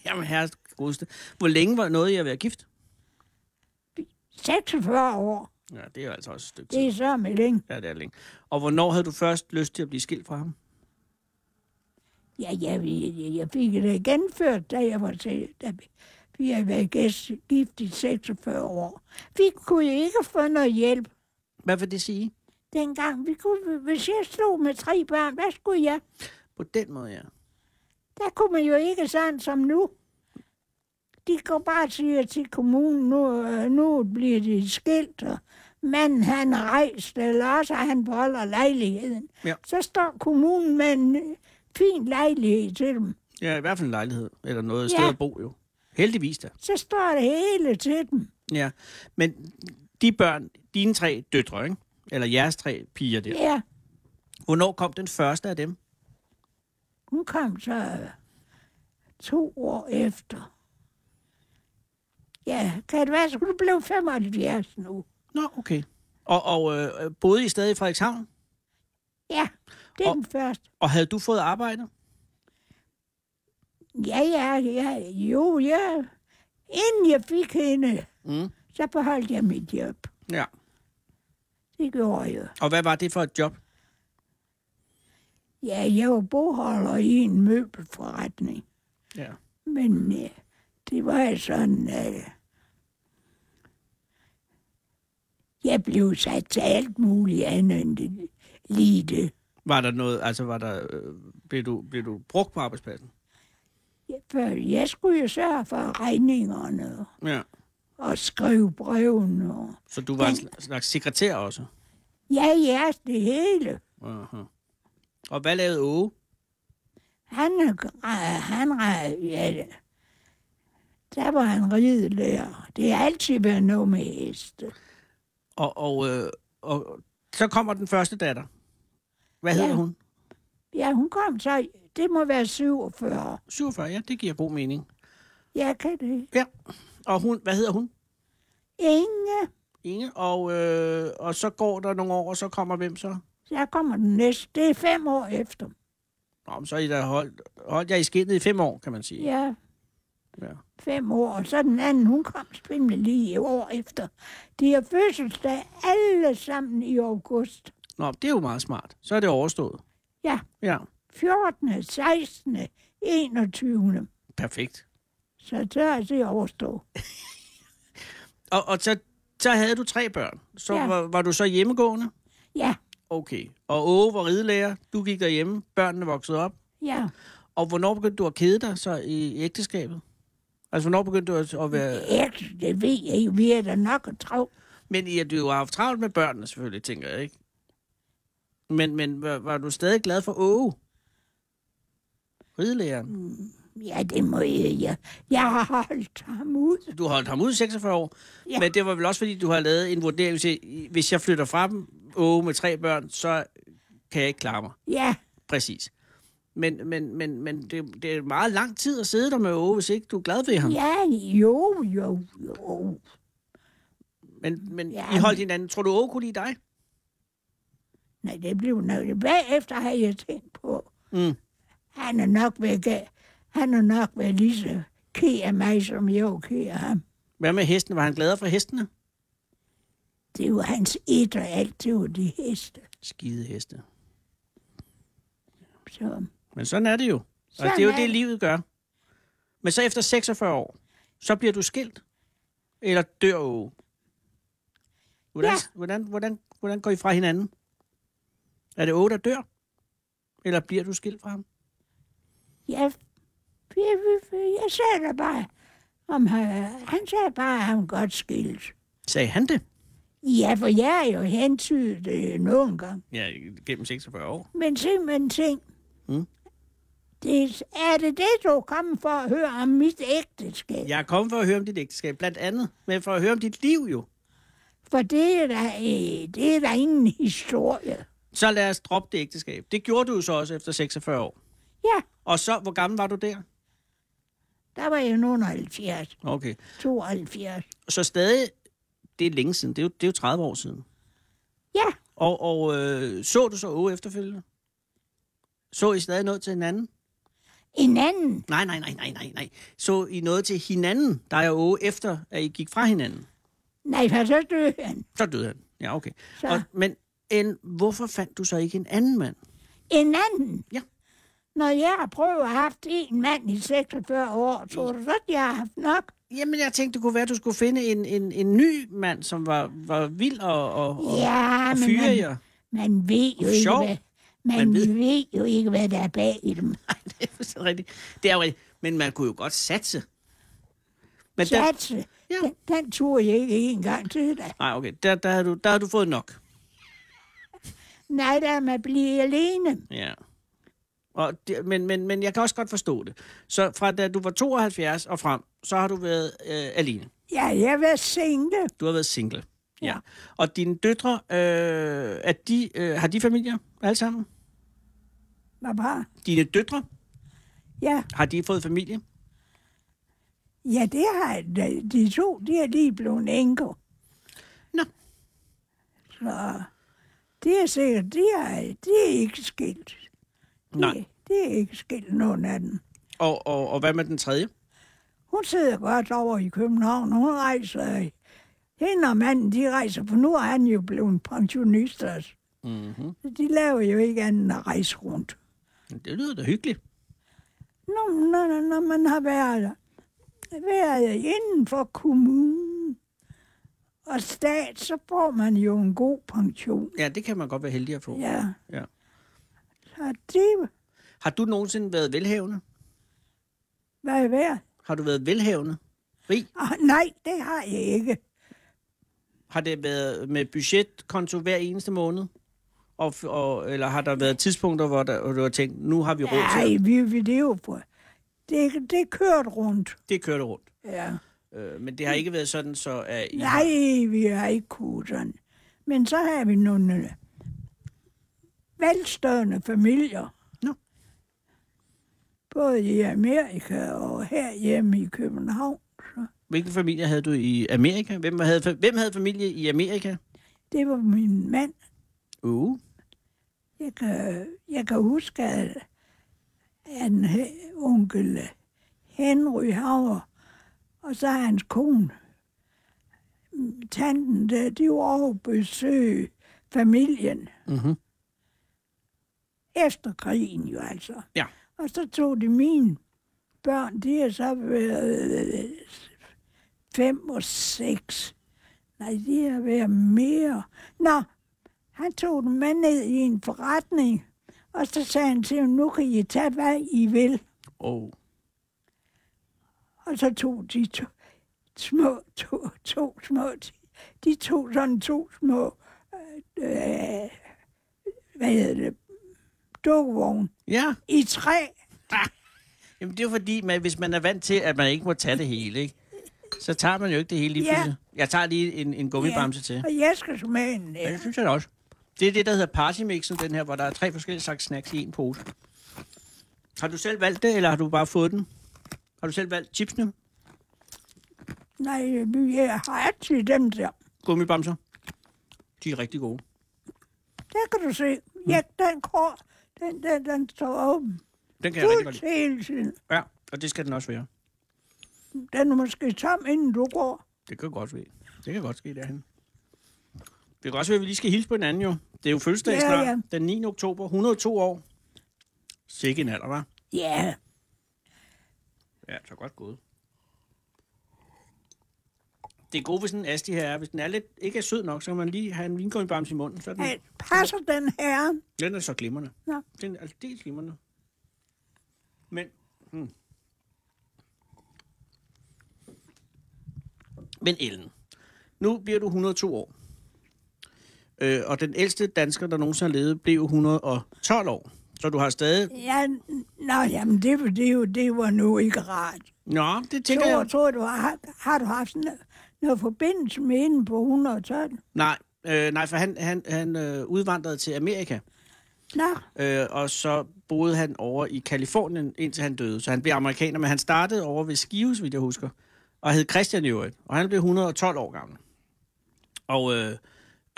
Speaker 4: Jamen, herre godeste. Hvor længe var noget, jeg at være gift?
Speaker 5: 46 år.
Speaker 4: Ja, det er jo altså også et stykke
Speaker 5: Det
Speaker 4: tid.
Speaker 5: er så med længe.
Speaker 4: Ja, det er længe. Og hvornår havde du først lyst til at blive skilt fra ham?
Speaker 5: Ja, jeg, jeg, jeg fik det genført, da jeg var til, da vi- Vi har været gæst, gift i 46 år. Vi kunne ikke få noget hjælp
Speaker 4: Hvad vil det sige?
Speaker 5: dengang. Vi kunne, hvis jeg stod med tre børn, hvad skulle jeg?
Speaker 4: På den måde, ja.
Speaker 5: Der kunne man jo ikke sådan som nu. De går bare og siger til kommunen, nu, øh, nu bliver det skilt, og manden han er rejst, eller også er han beholder lejligheden.
Speaker 4: Ja.
Speaker 5: Så står kommunen med en øh, fin lejlighed til dem.
Speaker 4: Ja, i hvert fald en lejlighed, eller noget
Speaker 5: Ja.
Speaker 4: sted at bo jo. Heldigvis da.
Speaker 5: Så står det hele til dem.
Speaker 4: Ja. Men de børn, dine tre døtre, ikke? eller jeres tre piger der,
Speaker 5: Ja,
Speaker 4: hvornår kom den første af dem?
Speaker 5: hun kom så øh, to år efter. Ja, kan det være, så hun blev 75 nu.
Speaker 4: Nå, okay. Og, og øh, boede I stadig i Frederikshavn?
Speaker 5: Ja, det er
Speaker 4: Og-
Speaker 5: den første.
Speaker 4: Og havde du fået arbejde?
Speaker 5: Ja, ja, ja. Jo, ja. Inden jeg fik hende,
Speaker 4: Mm.
Speaker 5: så beholdt jeg mit job.
Speaker 4: Ja.
Speaker 5: Det gjorde jeg.
Speaker 4: Og hvad var det for et job?
Speaker 5: Ja, jeg var bogholder i en møbelforretning.
Speaker 4: Ja.
Speaker 5: Men ja, det var sådan, øh, at jeg blev sat til alt muligt andet end det, lige det.
Speaker 4: Var der noget, altså var der, øh, blev, du, blev du brugt på arbejdspladsen?
Speaker 5: Ja, For jeg skulle jo sørge for regningerne
Speaker 4: Ja.
Speaker 5: og skrive brevene. og-
Speaker 4: Så du var en sl- slags sekretær også?
Speaker 5: Ja, ja, det hele.
Speaker 4: Aha. Og hvad lavede Åge?
Speaker 5: Han, øh, han, øh, ja, der var han ridelærer. Det har altid været noget med heste.
Speaker 4: Og, og, øh, og så kommer den første datter. Hvad
Speaker 5: Ja.
Speaker 4: hedder hun?
Speaker 5: Ja, hun kom så, det må være 47.
Speaker 4: 47, ja, det giver god mening.
Speaker 5: Jeg kan det.
Speaker 4: Ja. Og hun, hvad hedder hun?
Speaker 5: Inge,
Speaker 4: Inge. Og, øh, og så går der nogle år, og så kommer hvem så?
Speaker 5: der kommer den næste. Det er fem år efter.
Speaker 4: Nå, men så er I da holdt, holdt jeg i skinnet i fem år, kan man sige.
Speaker 5: Ja,
Speaker 4: ja.
Speaker 5: fem år. Og så den anden, hun kom spændende lige et år efter. De har fødselsdag alle sammen i august.
Speaker 4: Nå, det er jo meget smart. Så er det overstået.
Speaker 5: Ja,
Speaker 4: Ja,
Speaker 5: 14., 16., 21.
Speaker 4: perfekt.
Speaker 5: Så så er det overstået.
Speaker 4: Og, og så, så havde du tre børn. Så
Speaker 5: Ja.
Speaker 4: ja. var, var du så hjemmegående?
Speaker 5: Ja,
Speaker 4: Okay. Og Åge var ridelærer. Du gik derhjemme. Børnene voksede op.
Speaker 5: ja.
Speaker 4: Og hvornår begyndte du at kede dig så i ægteskabet? Altså, hvornår begyndte du at, at være...
Speaker 5: Ja, det ved jeg ikke. Vi er da nok at travlt.
Speaker 4: Men I, at du har haft travlt med børnene, selvfølgelig, tænker jeg, ikke? Men, men var, var du stadig glad for Åge? Ridelæreren.
Speaker 5: Ja, det må jeg. Jeg, jeg har holdt ham ud.
Speaker 4: Du holdt ham ud i 46 år,
Speaker 5: Ja.
Speaker 4: ja. men det var vel også, fordi du har lavet en vurdering til, i- hvis jeg flytter fra dem, Åge med tre børn, så kan jeg ikke klare mig.
Speaker 5: Ja,
Speaker 4: Præcis. Men, men, men, men det, det er meget lang tid at sidde der med Åge, hvis ikke du er glad ved ham.
Speaker 5: ja, jo, jo, jo.
Speaker 4: Men, men
Speaker 5: Ja,
Speaker 4: ja, I holdt hinanden. Tror du, Åge kunne lide dig?
Speaker 5: Nej, det blev noget. Bagefter har jeg tænkt på,
Speaker 4: Mm.
Speaker 5: han er nok været, ga- han er nok været lige så ked af mig, som jeg var ked af ham.
Speaker 4: Hvad med hestene? Var han gladere for hestene?
Speaker 5: Det var hans et og alt, det var de heste.
Speaker 4: Skide heste.
Speaker 5: Så,
Speaker 4: Men sådan er det jo. Og
Speaker 5: Sådan
Speaker 4: det er jo
Speaker 5: er
Speaker 4: det,
Speaker 5: det.
Speaker 4: livet gør. Men så efter 46 år, så bliver du skilt. Eller dør jo. Hvordan,
Speaker 5: Ja.
Speaker 4: ja. hvordan, hvordan, hvordan går I fra hinanden? Er det Åge, der dør? Eller bliver du skilt fra ham?
Speaker 5: ja, jeg, jeg sagde da bare, om han, han sagde bare, at han godt skilt.
Speaker 4: Sagde han det?
Speaker 5: Ja, for jeg er jo hentydet øh, nogle gange.
Speaker 4: Ja, gennem 46 år.
Speaker 5: Men simpelthen ting.
Speaker 4: Mm.
Speaker 5: Det, er det det, du er kommet for at høre om mit ægteskab?
Speaker 4: Jeg er kommet for at høre om dit ægteskab, blandt andet. Men for at høre om dit liv jo.
Speaker 5: For det er, der, øh, det er der ingen historie.
Speaker 4: Så lad os droppe det ægteskab. Det gjorde du jo så også efter 46 år.
Speaker 5: Ja,
Speaker 4: Og så, hvor gammel var du der?
Speaker 5: der var jeg nogen 70,
Speaker 4: Okay.
Speaker 5: 72.
Speaker 4: Så stadig, det er længe siden. Det er jo, det er jo 30 år siden.
Speaker 5: Ja,
Speaker 4: Og, og øh, så du så Åge efterfølgende? Så I stadig noget til hinanden?
Speaker 5: en anden.
Speaker 4: Nej, nej, nej, nej, nej, nej. Så I noget til hinanden, der er Åge, efter at I gik fra hinanden?
Speaker 5: Nej, for så døde han.
Speaker 4: Så døde han. Ja, okay.
Speaker 5: Så.
Speaker 4: Og, men en, hvorfor fandt du så ikke en anden mand?
Speaker 5: En anden.
Speaker 4: Ja.
Speaker 5: Når jeg har prøvet at have haft en mand i 46 år, tror du så, at jeg har haft nok?
Speaker 4: Jamen, jeg tænkte, det kunne være, at du skulle finde en, en, en ny mand, som var, var vild og, og, og,
Speaker 5: Ja,
Speaker 4: og
Speaker 5: men
Speaker 4: fyre
Speaker 5: man,
Speaker 4: jer.
Speaker 5: man ved jo
Speaker 4: Og
Speaker 5: ikke,
Speaker 4: sjov.
Speaker 5: hvad, man,
Speaker 4: Man ved-
Speaker 5: ved. ved jo ikke, hvad der er bag i dem.
Speaker 4: Det er fuldstændig rigtigt. Det er jo rigtigt. Men man kunne jo godt satse. Men der,
Speaker 5: Satse,
Speaker 4: Ja.
Speaker 5: øh, den, den turde jeg ikke en gang til da.
Speaker 4: nej, okay, der, der, havde du, der havde du fået nok.
Speaker 5: Nej, der er man blive alene.
Speaker 4: Ja. Og det, men, men, men jeg kan også godt forstå det. Så fra da du var 72 og frem, så har du været øh, alene.
Speaker 5: Ja, jeg var single.
Speaker 4: Du har været single. Ja. ja. Og dine døtre, øh, er de, øh, har de familier alle sammen?
Speaker 5: Hvad var?
Speaker 4: Dine døtre,
Speaker 5: Ja,
Speaker 4: har de fået familie?
Speaker 5: ja, det har de, de to, de er lige blevet enker.
Speaker 4: Nå.
Speaker 5: Så det er sikkert, de er, de er ikke skilt.
Speaker 4: Nej.
Speaker 5: De, de er ikke skilt, nogen af dem.
Speaker 4: Og, og, og hvad med den tredje?
Speaker 5: Hun sidder godt over i København. Hun rejser... Hende og manden, de rejser, for nu er han jo blevet pensionist også.
Speaker 4: Mm-hmm.
Speaker 5: Så de laver jo ikke andet end at rejse rundt.
Speaker 4: Det lyder da hyggeligt.
Speaker 5: Når, når, når man har været, været inden for kommunen og stat, så får man jo en god pension.
Speaker 4: Ja, det kan man godt være heldig at få. Ja.
Speaker 5: Ja.
Speaker 4: Ja.
Speaker 5: Så det
Speaker 4: Har du nogensinde været velhavende?
Speaker 5: var værd.
Speaker 4: Har du været velhavende? Rig?
Speaker 5: Ah, nej, det har jeg ikke.
Speaker 4: Har det været med budgetkonto hver eneste måned? Og, og, eller har der været tidspunkter, hvor, der, hvor du har tænkt, nu har vi råd til
Speaker 5: Nej,
Speaker 4: det?
Speaker 5: vi, vi det er jo på. Det, det kørte rundt.
Speaker 4: Det kører det rundt.
Speaker 5: Ja.
Speaker 4: Øh, men det har ikke været sådan, så at I har-
Speaker 5: Nej, vi har ikke kunnet sådan. Men så har vi nogle øh, velstående familier.
Speaker 4: Nå.
Speaker 5: Både i Amerika og herhjemme i København. Så
Speaker 4: Hvilken familie havde du i Amerika? Hvem havde, fa- hvem havde familie i Amerika?
Speaker 5: det var min mand.
Speaker 4: Uh.
Speaker 5: Jeg kan, jeg kan huske, at han, he- onkel Henry Hauer og så hans kone, mm, tanten der, de var over at besøge familien.
Speaker 4: Mm-hmm.
Speaker 5: efter krigen jo altså.
Speaker 4: Ja.
Speaker 5: Og så tog de mine børn, de har så været øh, fem og seks. Nej, de har været mere. Nå, han tog dem med ned i en forretning, og så sagde han til dem, nu kan I tage, hvad I vil.
Speaker 4: Oh.
Speaker 5: Og så tog de to, små, to, to små, de tog sådan to små, øh, øh, hvad hedder det, dukvogn
Speaker 4: Ja,
Speaker 5: i træ.
Speaker 4: Jamen, det er jo fordi, man, hvis man er vant til, at man ikke må tage det hele, ikke? så tager man jo ikke det hele lige
Speaker 5: Ja.
Speaker 4: pludselig. Jeg tager lige en, en gummibamse
Speaker 5: Ja,
Speaker 4: til.
Speaker 5: Og jeg skal smage en
Speaker 4: Ja,
Speaker 5: der.
Speaker 4: det synes jeg da også. Det er det, der hedder partymixen, den her, hvor der er tre forskellige slags snacks i en pose. Har du selv valgt det, eller har du bare fået den? Har du selv valgt chipsene,
Speaker 5: Nej, vi har altid dem der.
Speaker 4: gummibamser? De er rigtig gode.
Speaker 5: Der kan du se. Ja, den kår, den, den, den står åben.
Speaker 4: Den kan jeg rigtig godt
Speaker 5: Fuldt
Speaker 4: lide.
Speaker 5: hele tiden.
Speaker 4: Ja, og det skal den også være.
Speaker 5: Den er måske tom, inden du går.
Speaker 4: Det kan godt være. Det kan godt ske derhen. Det kan også være, at vi lige skal hilse på hinanden jo. Det er jo fødselsdag
Speaker 5: Ja,
Speaker 4: snart,
Speaker 5: ja.
Speaker 4: den 9. oktober, 102 år. Sikke en alder, var.
Speaker 5: Ja.
Speaker 4: Ja, så godt gået. Det gode ved sådan en asti her er, hvis den er lidt, ikke er sød nok, så kan man lige have en vingummibams i munden. Så er den,
Speaker 5: At passer den her?
Speaker 4: den er så glimrende.
Speaker 5: Nå.
Speaker 4: Den er aldeles glimrende. Men, hmm. Men Ellen, nu bliver du 102 år. Øh, og den ældste dansker, der nogensinde har levet, blev 112 år. Så du har stadig...
Speaker 5: Ja, nå, jamen, det, var- det, var- det var nu ikke rart.
Speaker 4: Nå, det tænker
Speaker 5: Tror,
Speaker 4: jeg...
Speaker 5: tror du, har, har du haft sådan noget, noget forbindelse med hende på 112?
Speaker 4: Nej, øh, nej for han, han, han øh, udvandrede til Amerika.
Speaker 5: Nå,
Speaker 4: Øh, og så boede han over i Kalifornien, indtil han døde. Så han blev amerikaner, men han startede over ved Skive, så vidt jeg husker. Og hed Christian i øvrigt. Og han blev 112 år gammel. Og øh,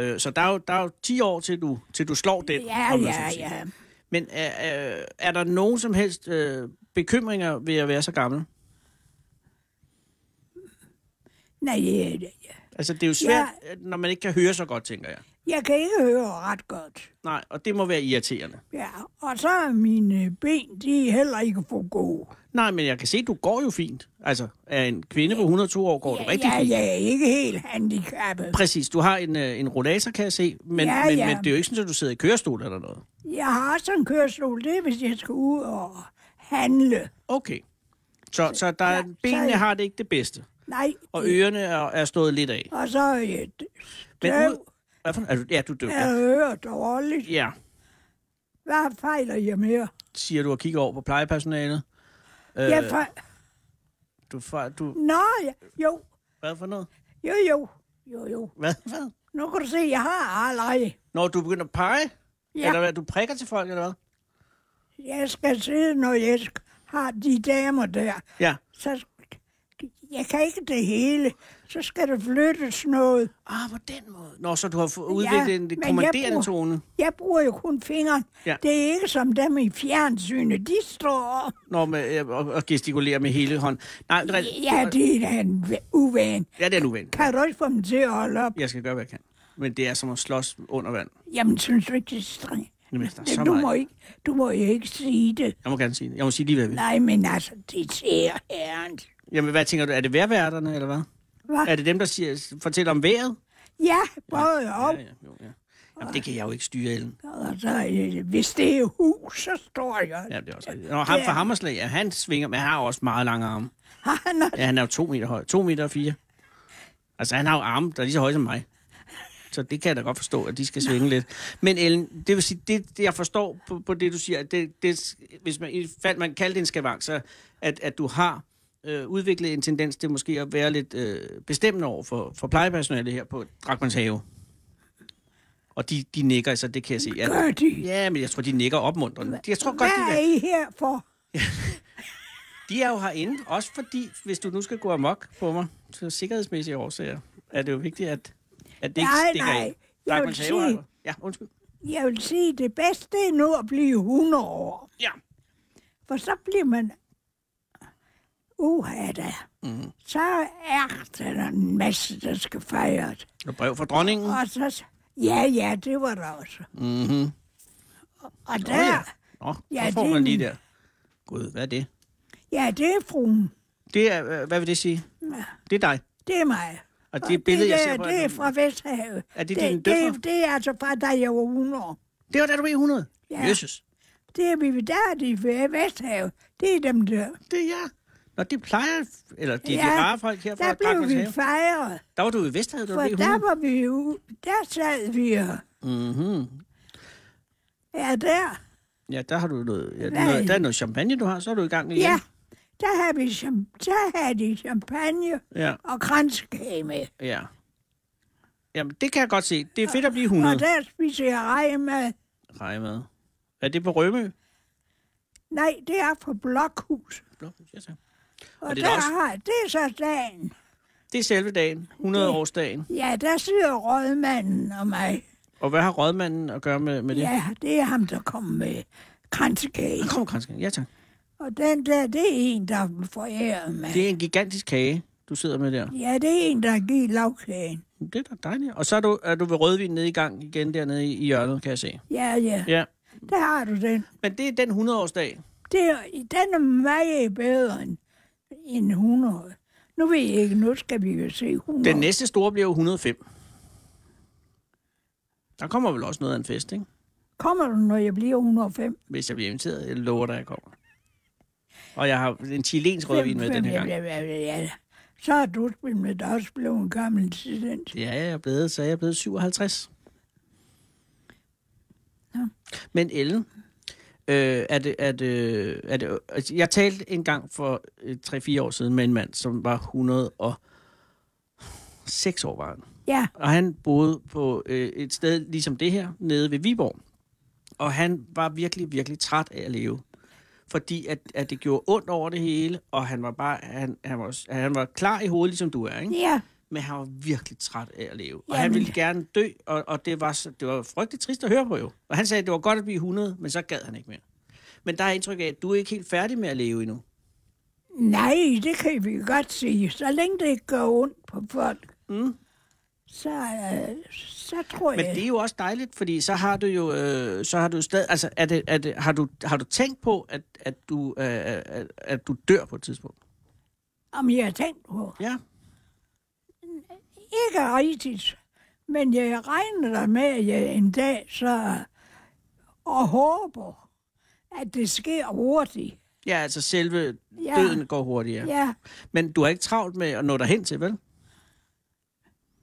Speaker 4: øh, så der er, jo, der er jo 10 år, til du, til du slår den.
Speaker 5: ja,
Speaker 4: om man så
Speaker 5: ja,
Speaker 4: må sige.
Speaker 5: ja.
Speaker 4: Men er, øh, er der nogen som helst øh, bekymringer ved at være så gammel?
Speaker 5: Nej, ja, ja.
Speaker 4: øh, Altså, det er jo svært, ja. når man ikke kan høre så godt, tænker jeg.
Speaker 5: Jeg kan ikke høre ret godt.
Speaker 4: Nej, og det må være irriterende.
Speaker 5: Ja, og så er mine ben, de er heller ikke for gode.
Speaker 4: Nej, men jeg kan se, du går jo fint. Altså, af en kvinde på 102 år går du rigtig
Speaker 5: ja,
Speaker 4: fint.
Speaker 5: jeg er ikke helt handicappet.
Speaker 4: Præcis, du har en, øh, en rollator, kan jeg se, men,
Speaker 5: Ja,
Speaker 4: men,
Speaker 5: ja.
Speaker 4: men det er jo ikke sådan, at du sidder i kørestol eller noget.
Speaker 5: Jeg har også en kørestol, det er, hvis jeg skal ud og handle.
Speaker 4: Okay. Så, så der,
Speaker 5: ja,
Speaker 4: ja, benene
Speaker 5: så-
Speaker 4: har det ikke det bedste,
Speaker 5: Nej,
Speaker 4: og
Speaker 5: det-
Speaker 4: ørerne er, er stået lidt af.
Speaker 5: og så øh, er jeg
Speaker 4: Men
Speaker 5: døv,
Speaker 4: ud... Hvad for... er du, ja, du er døv.
Speaker 5: jeg
Speaker 4: Ja.
Speaker 5: hører dårligt.
Speaker 4: ja,
Speaker 5: Hvad fejler jeg mere?
Speaker 4: siger du og kigger over på plejepersonalet. Øh,
Speaker 5: Jeg fejler...
Speaker 4: du, far- du...
Speaker 5: Nå, ja. jo,
Speaker 4: Hvad for noget?
Speaker 5: jo, jo, jo, jo.
Speaker 4: Hvad? hvad?
Speaker 5: Nu kan du se, jeg har aldrig.
Speaker 4: Når du begynder at pege? Ja. Eller
Speaker 5: Jeg,
Speaker 4: hvad, du prikker til folk, eller hvad?
Speaker 5: jeg skal sidde, når jeg sk- har de damer der.
Speaker 4: Ja.
Speaker 5: Så sk- jeg kan ikke det hele. Så skal der flyttes noget.
Speaker 4: Ah, på den måde. Nå, så du har fået udviklet ja, en
Speaker 5: men jeg
Speaker 4: kommanderende
Speaker 5: bruger-
Speaker 4: tone.
Speaker 5: Jeg bruger jo kun fingeren.
Speaker 4: Ja.
Speaker 5: Det er ikke som dem i fjernsynet. De står og...
Speaker 4: Nå, med, øh, og, og gestikulere med hele hånden. Nej, det er, rigtigt.
Speaker 5: Ja, det er da en v- uvan.
Speaker 4: ja, det er nu vel.
Speaker 5: Kan du ikke få dem til at holde op?
Speaker 4: Jeg skal gøre, hvad jeg kan. Men det er som at slås under vand.
Speaker 5: Jamen, synes du ikke, det er strengt?
Speaker 4: Jamen, altså, der er så
Speaker 5: Du
Speaker 4: meget.
Speaker 5: må, ikke, du må jo ikke sige det.
Speaker 4: Jeg må gerne sige det. Jeg må sige lige, hvad jeg vil.
Speaker 5: Nej, men altså, det ser herrens.
Speaker 4: Jamen, hvad tænker du? Er det værværterne, eller hvad?
Speaker 5: Hva?
Speaker 4: Er det dem, der siger, fortæller om vejret?
Speaker 5: Ja, både op.
Speaker 4: Ja, ja, jo, ja. Jamen, det kan jeg jo ikke styre, Ellen.
Speaker 5: Og så, øh, hvis det er hus, så står jeg.
Speaker 4: Ja, det er også rigtigt. Nå, ham fra Hammerslag, ja, han svinger, men han har også meget lange arme.
Speaker 5: Han er,
Speaker 4: Ja, han er jo to meter høj. To meter og fire. Altså, han har jo arme, der er lige så høje som mig. Så det kan jeg da godt forstå, at de skal svinge lidt. Men Ellen, det vil sige, det, det jeg forstår på, på det, du siger, at det, det, hvis man, i fald man kalder det en skavank, så at, at du har øh, udviklet en tendens til måske at være lidt øh, bestemmende over for, for plejepersonalet her på Drakmans Have. Og de, de nikker, så det kan jeg se. Ja,
Speaker 5: gør de.
Speaker 4: ja, men jeg tror, de nikker opmuntrende. Jeg tror godt, de
Speaker 5: Hvad er I her for?
Speaker 4: de er jo herinde, også fordi, hvis du nu skal gå amok på mig, så sikkerhedsmæssige årsager, er det jo vigtigt, at, at det ikke
Speaker 5: Nej,
Speaker 4: stikker
Speaker 5: nej.
Speaker 4: af.
Speaker 5: Jeg
Speaker 4: Dagmar
Speaker 5: vil
Speaker 4: Tage har-
Speaker 5: sige-
Speaker 4: Ja, undskyld.
Speaker 5: Jeg vil sige, det bedste er nu at blive 100 år.
Speaker 4: Ja.
Speaker 5: For så bliver man... Uha da. Mm. Så er der en masse, der skal fejres.
Speaker 4: Og brev fra dronningen.
Speaker 5: Og så... Ja, ja, det var der også.
Speaker 4: Mhm.
Speaker 5: Og der...
Speaker 4: Nå, ja. Nå,
Speaker 5: Ja,
Speaker 4: ja, får
Speaker 5: det er
Speaker 4: man
Speaker 5: en-
Speaker 4: lige der. Gud, hvad er det?
Speaker 5: Ja, det er fruen.
Speaker 4: Det er, øh, hvad vil det sige? Det er dig.
Speaker 5: Det er mig.
Speaker 4: Og det billede, jeg
Speaker 5: der,
Speaker 4: ser på-
Speaker 5: Det er fra Vesthavet.
Speaker 4: Er det
Speaker 5: det
Speaker 4: dine døtre?
Speaker 5: det, det er altså fra, da jeg var 100 år.
Speaker 4: Det var da du var i 100.
Speaker 5: Ja.
Speaker 4: Jesus.
Speaker 5: Det er vi der er de ved Vesthavet. Det er dem der.
Speaker 4: Det er jeg. Nå, det plejer, eller det er
Speaker 5: Ja,
Speaker 4: de rare folk her fra
Speaker 5: Der blev
Speaker 4: Drakmans
Speaker 5: vi
Speaker 4: Have.
Speaker 5: fejret.
Speaker 4: Der var du i Vesthavet, da du
Speaker 5: For
Speaker 4: var i
Speaker 5: der
Speaker 4: 100.
Speaker 5: var vi jo... Der sad vi og...
Speaker 4: Mhm.
Speaker 5: Ja, der.
Speaker 4: Ja, der har du noget, ja,
Speaker 5: Nej.
Speaker 4: noget, der er noget champagne, du har, så er du i gang igen.
Speaker 5: Ja. Der havde, vi champ- der havde de champagne
Speaker 4: ja.
Speaker 5: og kranskage med.
Speaker 4: Ja. Jamen, det kan jeg godt se. Det er fedt at blive
Speaker 5: Og
Speaker 4: 100.
Speaker 5: der spiser jeg rejemad.
Speaker 4: Rejmad. Er det på Rømø?
Speaker 5: Nej, det er fra Blokhus.
Speaker 4: Nå, ja, tak.
Speaker 5: Og,
Speaker 4: Og det
Speaker 5: det
Speaker 4: er
Speaker 5: der
Speaker 4: da også-
Speaker 5: har, det er så dagen.
Speaker 4: Det er selve dagen. 100-årsdagen.
Speaker 5: Ja, der sidder rådmanden og mig.
Speaker 4: Og hvad har rådmanden at gøre med, med det?
Speaker 5: Ja, det er ham, der kom med kransekage.
Speaker 4: Kom, Kranskeren. Ja, tak.
Speaker 5: Og den der, det er en, der forærer mig.
Speaker 4: Det er en gigantisk kage, du sidder med der.
Speaker 5: Ja, det er en, der giver lavkagen.
Speaker 4: Det er da dejligt. Og så er du, er du ved rødvin nede i gang igen dernede i, i hjørnet, kan jeg se.
Speaker 5: Ja, ja,
Speaker 4: Ja.
Speaker 5: der har du den.
Speaker 4: Men det er den 100-årsdag.
Speaker 5: Det, er- den er meget bedre end, end 100. Nu ved jeg ikke, nu skal vi jo se 100.
Speaker 4: Den næste store bliver jo 105. Der kommer vel også noget af en fest, ikke?
Speaker 5: Kommer du, når jeg bliver 105?
Speaker 4: Hvis jeg bliver inviteret, jeg lover dig, jeg kommer. Og jeg har en chilensk rødvin med
Speaker 5: Fem-
Speaker 4: den her
Speaker 5: fem-
Speaker 4: gang.
Speaker 5: ja, ja, ja, ja. Så er du med dig også blevet en gammel incident.
Speaker 4: Ja, jeg er blevet, så er jeg blevet 57.
Speaker 5: Nå.
Speaker 4: Men Ellen, øh, er det, er det, er det, altså, jeg talte en gang for øh, 3-4 år siden med en mand, som var 106 år var han.
Speaker 5: Ja,
Speaker 4: Og han boede på øh, et sted ligesom det her, nede ved Viborg. Og han var virkelig, virkelig træt af at leve. Fordi at, at det gjorde ondt over det hele, og han var bare, han, han, var, han var klar i hovedet, ligesom du er, ikke?
Speaker 5: ja,
Speaker 4: men han var virkelig træt af at leve. Og
Speaker 5: Jamen.
Speaker 4: han ville gerne dø, og, og det, var, så- det var frygteligt trist at høre på jo. Og han sagde, at det var godt at blive 100, men så gad han ikke mere. Men der er indtryk af, at du er ikke helt færdig med at leve endnu.
Speaker 5: nej, det kan vi godt sige. Så længe det ikke gør ondt på folk,
Speaker 4: Mm.
Speaker 5: så, øh, så tror
Speaker 4: Men
Speaker 5: jeg...
Speaker 4: det er jo også dejligt, fordi så har du jo øh, så har du stadig, altså er det, er det, har, du, har du tænkt på, at, at, du, øh, at, at du dør på et tidspunkt?
Speaker 5: Om jeg har tænkt på.
Speaker 4: Ja.
Speaker 5: Ikke rigtigt. Men jeg regner da med, at jeg en dag så... Og håber, at det sker hurtigt.
Speaker 4: Ja, altså selve
Speaker 5: Ja.
Speaker 4: ja. døden går hurtigere. Ja.
Speaker 5: Ja,
Speaker 4: Men du er ikke travlt med at nå dig hen til, vel?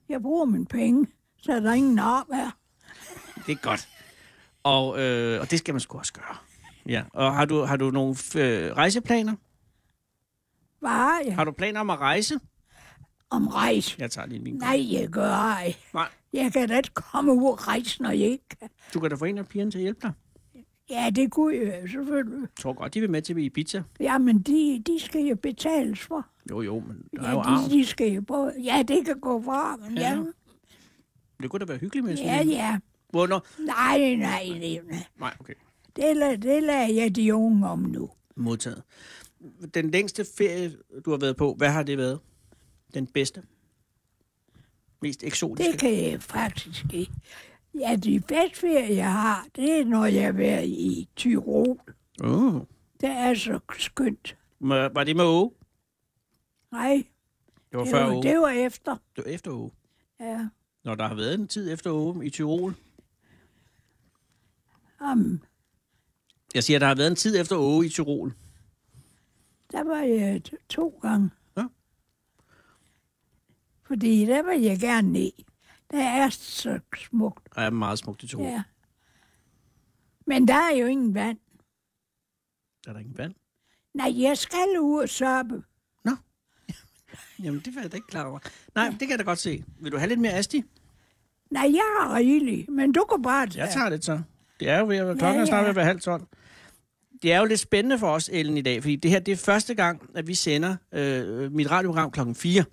Speaker 5: jeg bruger mine penge, så er der ingen op her.
Speaker 4: Det er godt. Og, øh, og det skal man sgu også gøre. Ja. Og har du, har du nogle øh, rejseplaner?
Speaker 5: Bare jeg
Speaker 4: Har du planer om at rejse?
Speaker 5: om rejse.
Speaker 4: Jeg tager lige min.
Speaker 5: Nej, jeg gør ej.
Speaker 4: Nej.
Speaker 5: Jeg kan da ikke komme ud og rejse, når jeg ikke kan.
Speaker 4: Du kan da få en af pigerne til at hjælpe dig.
Speaker 5: Ja, det kunne jeg selvfølgelig.
Speaker 4: Jeg tror godt, de vil med til Ibiza.
Speaker 5: Jamen, de, de skal jo betales for.
Speaker 4: Jo, jo, men der er jo
Speaker 5: Ja,
Speaker 4: arv.
Speaker 5: de, de skal jo både... Ja, det kan gå fra, men
Speaker 4: Ja.
Speaker 5: ja.
Speaker 4: Det kunne da være hyggeligt med
Speaker 5: Ja,
Speaker 4: sådan en.
Speaker 5: ja.
Speaker 4: Hvornår?
Speaker 5: Nej, nej, nej.
Speaker 4: Nej, okay.
Speaker 5: Det lader, det lader jeg de unge om nu.
Speaker 4: Modtaget. Den længste ferie, du har været på, hvad har det været? Den bedste? Mest eksotiske?
Speaker 5: Det kan jeg faktisk ikke. Ja, de bedste ferier, jeg har, det er, når jeg har været i Tyrol.
Speaker 4: Uh.
Speaker 5: Det er så skønt.
Speaker 4: Var var det med Åge?
Speaker 5: Nej,
Speaker 4: Det var
Speaker 5: det
Speaker 4: før
Speaker 5: var,
Speaker 4: Åge. Det
Speaker 5: det var efter.
Speaker 4: var efter Åge.
Speaker 5: Ja.
Speaker 4: Når der har været en tid efter Åge i Tyrol.
Speaker 5: Um,
Speaker 4: Jeg siger, der har været en tid efter Åge i Tyrol.
Speaker 5: der var jeg t- to gange.
Speaker 4: Ja.
Speaker 5: Fordi der var jeg gerne ned. Der er så smukt.
Speaker 4: Der er meget smukt i Tyrol. Ja.
Speaker 5: Ja. Men der er jo ingen vand.
Speaker 4: Der er der ingen vand.
Speaker 5: Nej, jeg skal ud og soppe.
Speaker 4: Jamen, det var jeg da ikke klar over. Nej, ja. det kan jeg da godt se. Vil du have lidt mere asti?
Speaker 5: Nej, jeg har rigeligt, men du kan bare tage.
Speaker 4: Jeg tager det så. Det er jo ved at være, klokken ja, ja. er snart ved at være halv tolv. Det er jo lidt spændende for os, Ellen, i dag, fordi det her det er første gang, at vi sender øh, mit radioprogram klokken 4.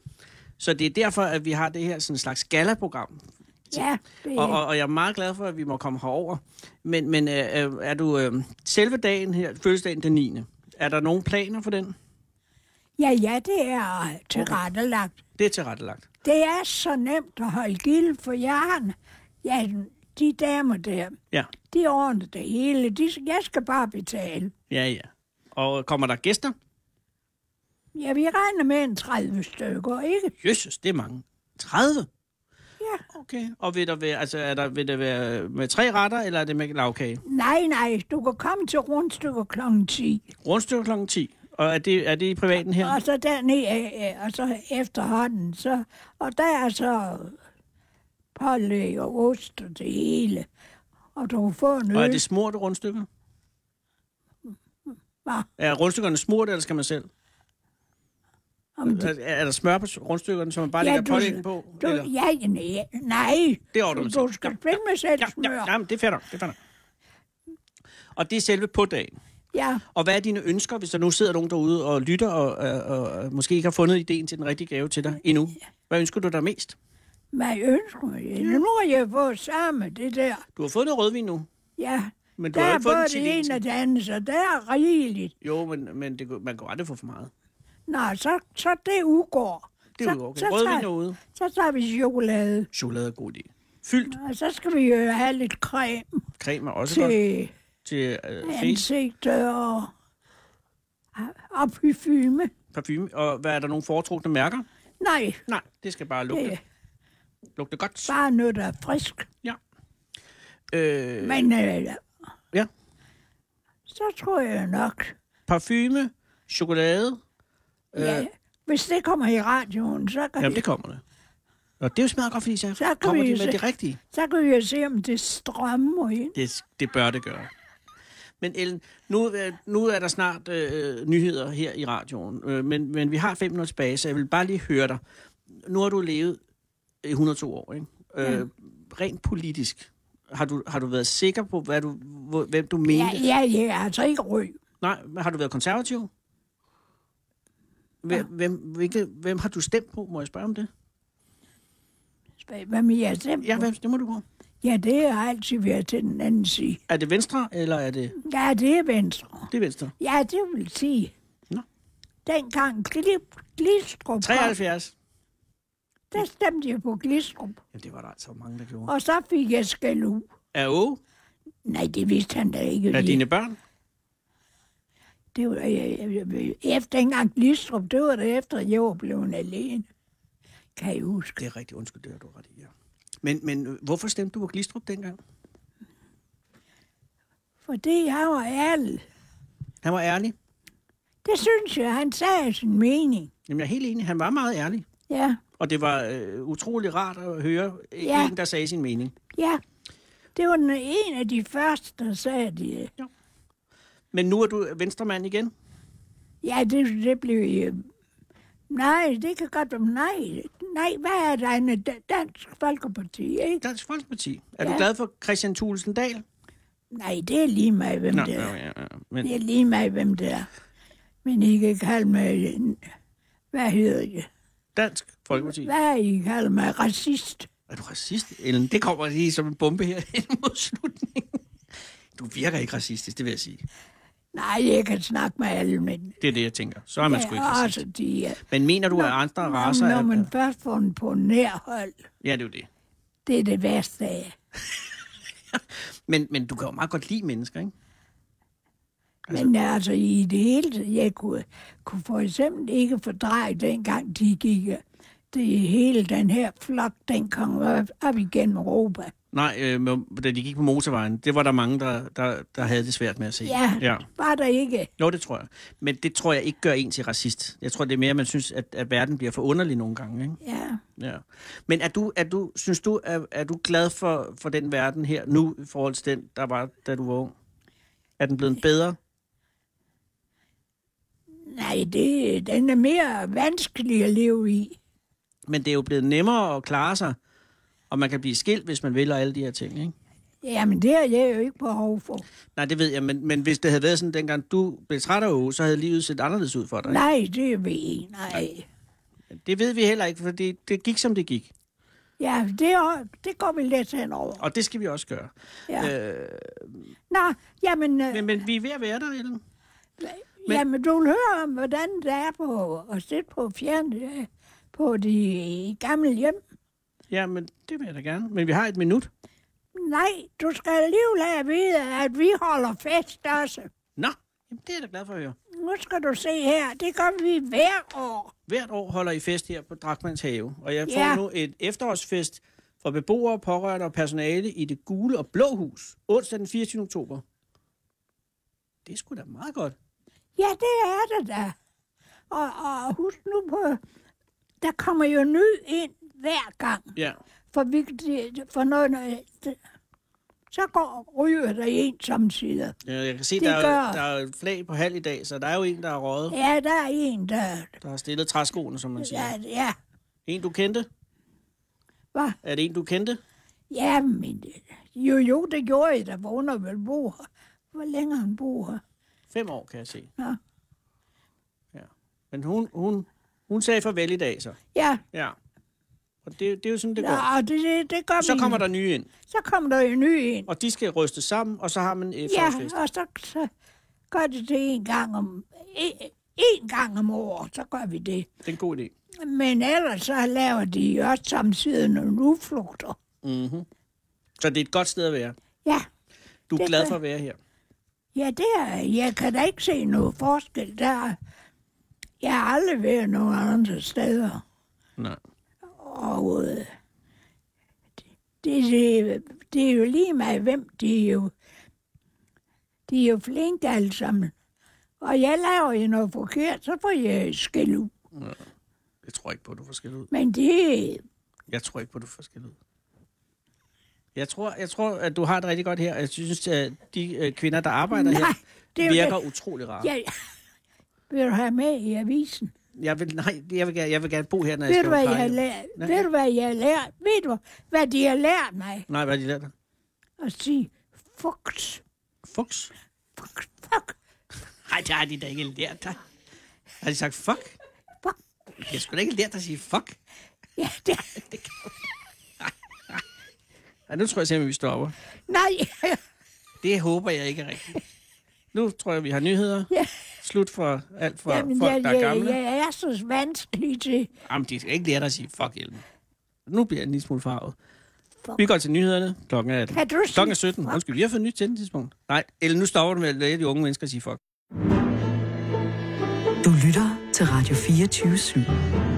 Speaker 4: Så det er derfor, at vi har det her sådan slags gala-program.
Speaker 5: Ja, det
Speaker 4: Og,
Speaker 5: er.
Speaker 4: og, og jeg er meget glad for, at vi må komme herover. Men, men øh, øh, er du øh, selve dagen her, fødselsdagen den 9. Er der nogen planer for den?
Speaker 5: Ja, ja, det er tilrettelagt.
Speaker 4: Det er tilrettelagt.
Speaker 5: Det er så nemt at holde gild for jern. Ja, de damer der,
Speaker 4: Ja,
Speaker 5: de ordner det hele. De, jeg skal bare betale.
Speaker 4: ja, ja. Og kommer der gæster?
Speaker 5: Ja, vi regner med en 30 stykker, ikke?
Speaker 4: Jesus, det er mange. 30?
Speaker 5: Ja.
Speaker 4: Okay. Og vil der være, altså, er der, vil der være med tre retter, eller er det med lavkage?
Speaker 5: Nej, nej, du kan komme til rundstykker kl. 10.
Speaker 4: Rundstykke kl. 10. Og er det, er det i privaten her?
Speaker 5: Og så dernede, øh, øh, og så efterhånden, så, og der er så pålæg og ost og det hele. Og du kan få en
Speaker 4: Og er
Speaker 5: øl.
Speaker 4: det smurt rundstykker?
Speaker 5: Hva?
Speaker 4: Er rundstykkerne smurt, eller skal man selv?
Speaker 5: Om det-
Speaker 4: Er, er der smør på rundstykkerne, som man bare
Speaker 5: Ja,
Speaker 4: lægger
Speaker 5: du-
Speaker 4: pålæg på?
Speaker 5: Du,
Speaker 4: eller?
Speaker 5: ja, ja, nej, nej.
Speaker 4: Det ordner
Speaker 5: du,
Speaker 4: man
Speaker 5: du
Speaker 4: selv.
Speaker 5: skal spille med selv
Speaker 4: Ja,
Speaker 5: smør.
Speaker 4: ja, ja, men det er fair nok, det er fair nok. Og det er selve på dagen.
Speaker 5: ja.
Speaker 4: Og hvad er dine ønsker, hvis der nu sidder nogen derude og lytter, og, øh, og, og, og måske ikke har fundet ideen til den rigtige gave til dig endnu? Hvad ønsker du dig mest?
Speaker 5: Men jeg ønsker mig. Nu har jeg fået sammen det der.
Speaker 4: Du har fået noget rødvin nu,
Speaker 5: Ja,
Speaker 4: men du
Speaker 5: der
Speaker 4: har
Speaker 5: er
Speaker 4: ikke fået den
Speaker 5: både
Speaker 4: til
Speaker 5: det ene og det andet, så der er rigeligt.
Speaker 4: Jo, men, men det, kunne- man kan jo aldrig få for meget.
Speaker 5: Nå, så, så det udgår.
Speaker 4: Det er
Speaker 5: så,
Speaker 4: jo okay.
Speaker 5: Så,
Speaker 4: Rødvin er
Speaker 5: tager,
Speaker 4: ude.
Speaker 5: så tager vi chokolade,
Speaker 4: Chokolade er god idé. Fyldt
Speaker 5: og så skal vi jo have lidt creme
Speaker 4: creme er også godt
Speaker 5: til
Speaker 4: til øh, face,
Speaker 5: ansigtet og, Ah, og parfume.
Speaker 4: parfume. Og hvad er der nogle foretrukne mærker?
Speaker 5: Nej,
Speaker 4: Nej, det skal bare
Speaker 5: det
Speaker 4: lugte,
Speaker 5: er
Speaker 4: lugte godt.
Speaker 5: bare noget, der er frisk.
Speaker 4: Ja. Øh,
Speaker 5: Men øh,
Speaker 4: ja.
Speaker 5: så tror jeg nok,
Speaker 4: Parfume, chokolade. Øh,
Speaker 5: ja, hvis det kommer i radioen, så kan,
Speaker 4: Jamen,
Speaker 5: vi,
Speaker 4: det kommer det. Og det er jo smadret godt, fordi så,
Speaker 5: Så kan
Speaker 4: kommer
Speaker 5: vi
Speaker 4: de
Speaker 5: jo
Speaker 4: med
Speaker 5: se-
Speaker 4: det rigtige.
Speaker 5: så kan vi jo se, om det strømmer ind.
Speaker 4: Det, det bør det gøre. Men Ellen, nu, øh, nu er der snart øh, nyheder her i radioen, øh, men, men vi har fem minutter tilbage, så jeg vil bare lige høre dig. Nu har du levet i 102 år, ikke? Øh, Rent politisk, har du, har du været sikker på, hvad du, hvor, hvem du mente?
Speaker 5: Ja, ja, ja, altså ikke ryg.
Speaker 4: Nej, men har du været konservativ? Hvem, hvem, hvilke, hvem har du stemt på? Må jeg spørge om det?
Speaker 5: Hvad med jeres stemme?
Speaker 4: Ja, hvem stemmer du på?
Speaker 5: ja, det har altid været til den anden side.
Speaker 4: Er det Venstre, eller er det,
Speaker 5: Ja, det er venstre.
Speaker 4: det er Venstre?
Speaker 5: Ja, det vil sige.
Speaker 4: Nå.
Speaker 5: Dengang Glip, Glistrup kom,
Speaker 4: 73.
Speaker 5: Der stemte jeg på Glistrup,
Speaker 4: Jamen, det var der altså mange, der gjorde.
Speaker 5: og så fik jeg skæld ud.
Speaker 4: Er O?
Speaker 5: Nej, det vidste han da ikke.
Speaker 4: Er
Speaker 5: lige.
Speaker 4: dine børn?
Speaker 5: Det var, jeg, jeg, jeg, efter engang Glistrup, det var det efter, at jeg var blevet alene. Kan jeg huske.
Speaker 4: Det er rigtig undskyld, det har du ret i, ja. Men, men øh, hvorfor stemte du på Glistrup dengang?
Speaker 5: Fordi han var ærlig.
Speaker 4: Han var ærlig.
Speaker 5: Det synes jeg, han sagde sin mening.
Speaker 4: Jamen, jeg er helt enig. Han var meget ærlig.
Speaker 5: Ja,
Speaker 4: Og det var øh, utrolig rart at høre ja.
Speaker 5: Ja.
Speaker 4: en, der sagde sin mening.
Speaker 5: ja. Det var den, en af de første, der sagde det.
Speaker 4: Men nu er du venstremand igen.
Speaker 5: Ja, det, det blev... øh, Nej, det kan godt være nej. Nej, hvad er der en dansk folkeparti, ikke?
Speaker 4: Dansk Folkeparti. Er ja. du
Speaker 5: Ja.
Speaker 4: glad for Christian Thulesen Dahl?
Speaker 5: Nej, det er lige mig, hvem
Speaker 4: Nå,
Speaker 5: det er.
Speaker 4: ja, ja, ja. Men,
Speaker 5: Det er lige mig, hvem det er. Men I kan kalde mig... en- Hvad hedder jeg?
Speaker 4: Dansk Folkeparti.
Speaker 5: Hvad har I kalder mig? Racist?
Speaker 4: Er du racist, Ellen? Det kommer lige som en bombe her ind mod slutningen. Du virker ikke racistisk, det vil jeg sige.
Speaker 5: Nej, jeg kan snakke med alle mænd.
Speaker 4: Det er det, jeg tænker. Så er man sgu ikke racist.
Speaker 5: også de er.
Speaker 4: Men mener du, at andre
Speaker 5: Når-
Speaker 4: raser...
Speaker 5: Når man
Speaker 4: Er...
Speaker 5: først får den på nærhold,
Speaker 4: Ja, det er jo det.
Speaker 5: det er det værste af.
Speaker 4: Men, men du kan jo meget godt lide mennesker, ikke?
Speaker 5: Men altså i det hele taget, jeg kunne, kunne for eksempel ikke fordreje dengang, de gik øh, det hele den her flok, den kom op, op igennem Europa.
Speaker 4: Nej, øh, men da de gik på motorvejen, det var der mange, der, der, der havde det svært med at se.
Speaker 5: Ja,
Speaker 4: ja.
Speaker 5: var der ikke?
Speaker 4: Jo, det tror jeg. Men det tror jeg ikke gør en til racist. Jeg tror, det er mere, at man synes, at, at verden bliver for underlig nogle gange. Ikke?
Speaker 5: Ja,
Speaker 4: Ja. Men er du, er du, synes du, er, er du glad for, for den verden her nu, i forhold til den, der var, da du var ung? Er den blevet bedre?
Speaker 5: nej, det, den er mere vanskelig at leve i.
Speaker 4: Men det er jo blevet nemmere at klare sig, og man kan blive skilt, hvis man vil, og alle de her ting, ikke?
Speaker 5: Jamen, det har jeg jo ikke behov for.
Speaker 4: Nej, det ved jeg, men, men hvis det havde været sådan, dengang du blev træt af Åge, så havde livet set anderledes ud for dig. ikke?
Speaker 5: Nej, det ved jeg. Nej.
Speaker 4: Det ved vi heller ikke, for det, det gik, som det gik.
Speaker 5: Ja, det, er, det går vi lidt hen over.
Speaker 4: Og det skal vi også gøre.
Speaker 5: Ja. Øh, Nå, jamen, øh,
Speaker 4: Men, men vi er ved at være der, Ellen.
Speaker 5: men, jamen, du vil høre om, hvordan det er på at sidde på fjern øh, på de gamle hjem.
Speaker 4: Ja, men det vil jeg da gerne. Men vi har et minut.
Speaker 5: Nej, du skal alligevel have at vide, at vi holder fest også.
Speaker 4: Nå, jamen, det er jeg da glad for at høre.
Speaker 5: Nu skal du se her, det gør vi hver år.
Speaker 4: Hvert år holder I fest her på Drakmans Have, og jeg får
Speaker 5: Ja.
Speaker 4: nu et efterårsfest for beboere, pårørende og personale i det gule og blå hus, onsdag den 24. oktober. Det er sgu da meget godt.
Speaker 5: Ja, det er det da. Og, og husk nu på, der kommer jo ny ind hver gang.
Speaker 4: Ja.
Speaker 5: For, vi, det- for når, når, det- så går ryger der en samtidig.
Speaker 4: Ja, Jeg kan se,
Speaker 5: Det
Speaker 4: der er,
Speaker 5: gør-
Speaker 4: der er flag på halv i dag, så der er jo en, der er røget,
Speaker 5: Ja, der er en, der...
Speaker 4: der har stillet træskoene, som man
Speaker 5: Ja,
Speaker 4: siger.
Speaker 5: ja.
Speaker 4: En, du kendte?
Speaker 5: Hva?
Speaker 4: Er det en, du kendte?
Speaker 5: ja men, jo, jo, det gjorde jeg, der vågner vel bor. her. Hvor længe han bor her.
Speaker 4: Fem år, kan jeg se.
Speaker 5: Ja.
Speaker 4: ja. Men hun, hun, hun sagde farvel i dag, så.
Speaker 5: Ja,
Speaker 4: Ja. Og det, det er jo sådan, det går.
Speaker 5: ja og det, det, det gør
Speaker 4: Så
Speaker 5: vi.
Speaker 4: kommer der nye ind,
Speaker 5: Så kommer der en ny en.
Speaker 4: og de skal ryste sammen, og så har man øh, et
Speaker 5: Ja,
Speaker 4: forfest.
Speaker 5: og så, så gør det det en gang om... En, en gang om året, så gør vi det.
Speaker 4: Det er en god idé.
Speaker 5: Men ellers så laver de også samtidig nogle uflugter.
Speaker 4: Mm-hmm. Så det er et godt sted at være.
Speaker 5: Ja,
Speaker 4: Du er
Speaker 5: Det
Speaker 4: glad
Speaker 5: er-
Speaker 4: for at være her.
Speaker 5: ja det er, jeg kan da ikke se noget forskel der. Jeg har aldrig været nogen andre steder.
Speaker 4: Nej.
Speaker 5: Og øh, det, det, det er jo lige meget, hvem de er jo. De er jo flinke alle sammen. Og jeg laver jo noget forkert, så får jeg skæld ud.
Speaker 4: Jeg tror ikke på, at du får skæld ud.
Speaker 5: Men det,
Speaker 4: Jeg tror ikke på, at du får skæld ud. Jeg tror, jeg tror, at du har det rigtig godt her. Jeg synes, at de øh, kvinder, der arbejder
Speaker 5: Nej,
Speaker 4: her,
Speaker 5: det er jo
Speaker 4: virker utrolig rare.
Speaker 5: jeg, vil du have med i avisen?
Speaker 4: Jeg vil, nej, jeg vil, gerne, jeg vil gerne bo her, når jeg
Speaker 5: Ved
Speaker 4: skal
Speaker 5: du,
Speaker 4: på
Speaker 5: hvad jeg har
Speaker 4: plejehjem.
Speaker 5: lært?
Speaker 4: Nej.
Speaker 5: Ved du, hvad jeg har lært? Ved du, hvad de har lært mig?
Speaker 4: Nej, hvad har de lært dig?
Speaker 5: At sige, fuck,
Speaker 4: Fucks?
Speaker 5: fuck, fuck,
Speaker 4: Nej, det har de da ikke lært dig. Har de sagt fuck?
Speaker 5: fuck.
Speaker 4: Jeg skulle da ikke lært dig at sige fuck.
Speaker 5: Ja, det,
Speaker 4: Ja, nu tror jeg simpelthen, vi stopper.
Speaker 5: nej,
Speaker 4: Det håber jeg ikke er rigtigt. Nu tror jeg, vi har nyheder.
Speaker 5: Ja.
Speaker 4: Slut for alt for
Speaker 5: jamen,
Speaker 4: folk,
Speaker 5: jeg,
Speaker 4: der er
Speaker 5: jeg,
Speaker 4: gamle.
Speaker 5: jeg er så vanskelig til.
Speaker 4: Jamen, de skal ikke lære dig at sige fuck, Hjelm. Nu bliver jeg en lille smule farvet. Vi går til nyhederne. Klokken er,
Speaker 5: Kan du
Speaker 4: klokken er
Speaker 5: sige
Speaker 4: 17.
Speaker 5: fuck?
Speaker 4: Undskyld, vi har fået nyt til den tidspunkt. Nej, eller nu stopper du med at lade de unge mennesker sige fuck.
Speaker 1: Du lytter til Radio 24 /7.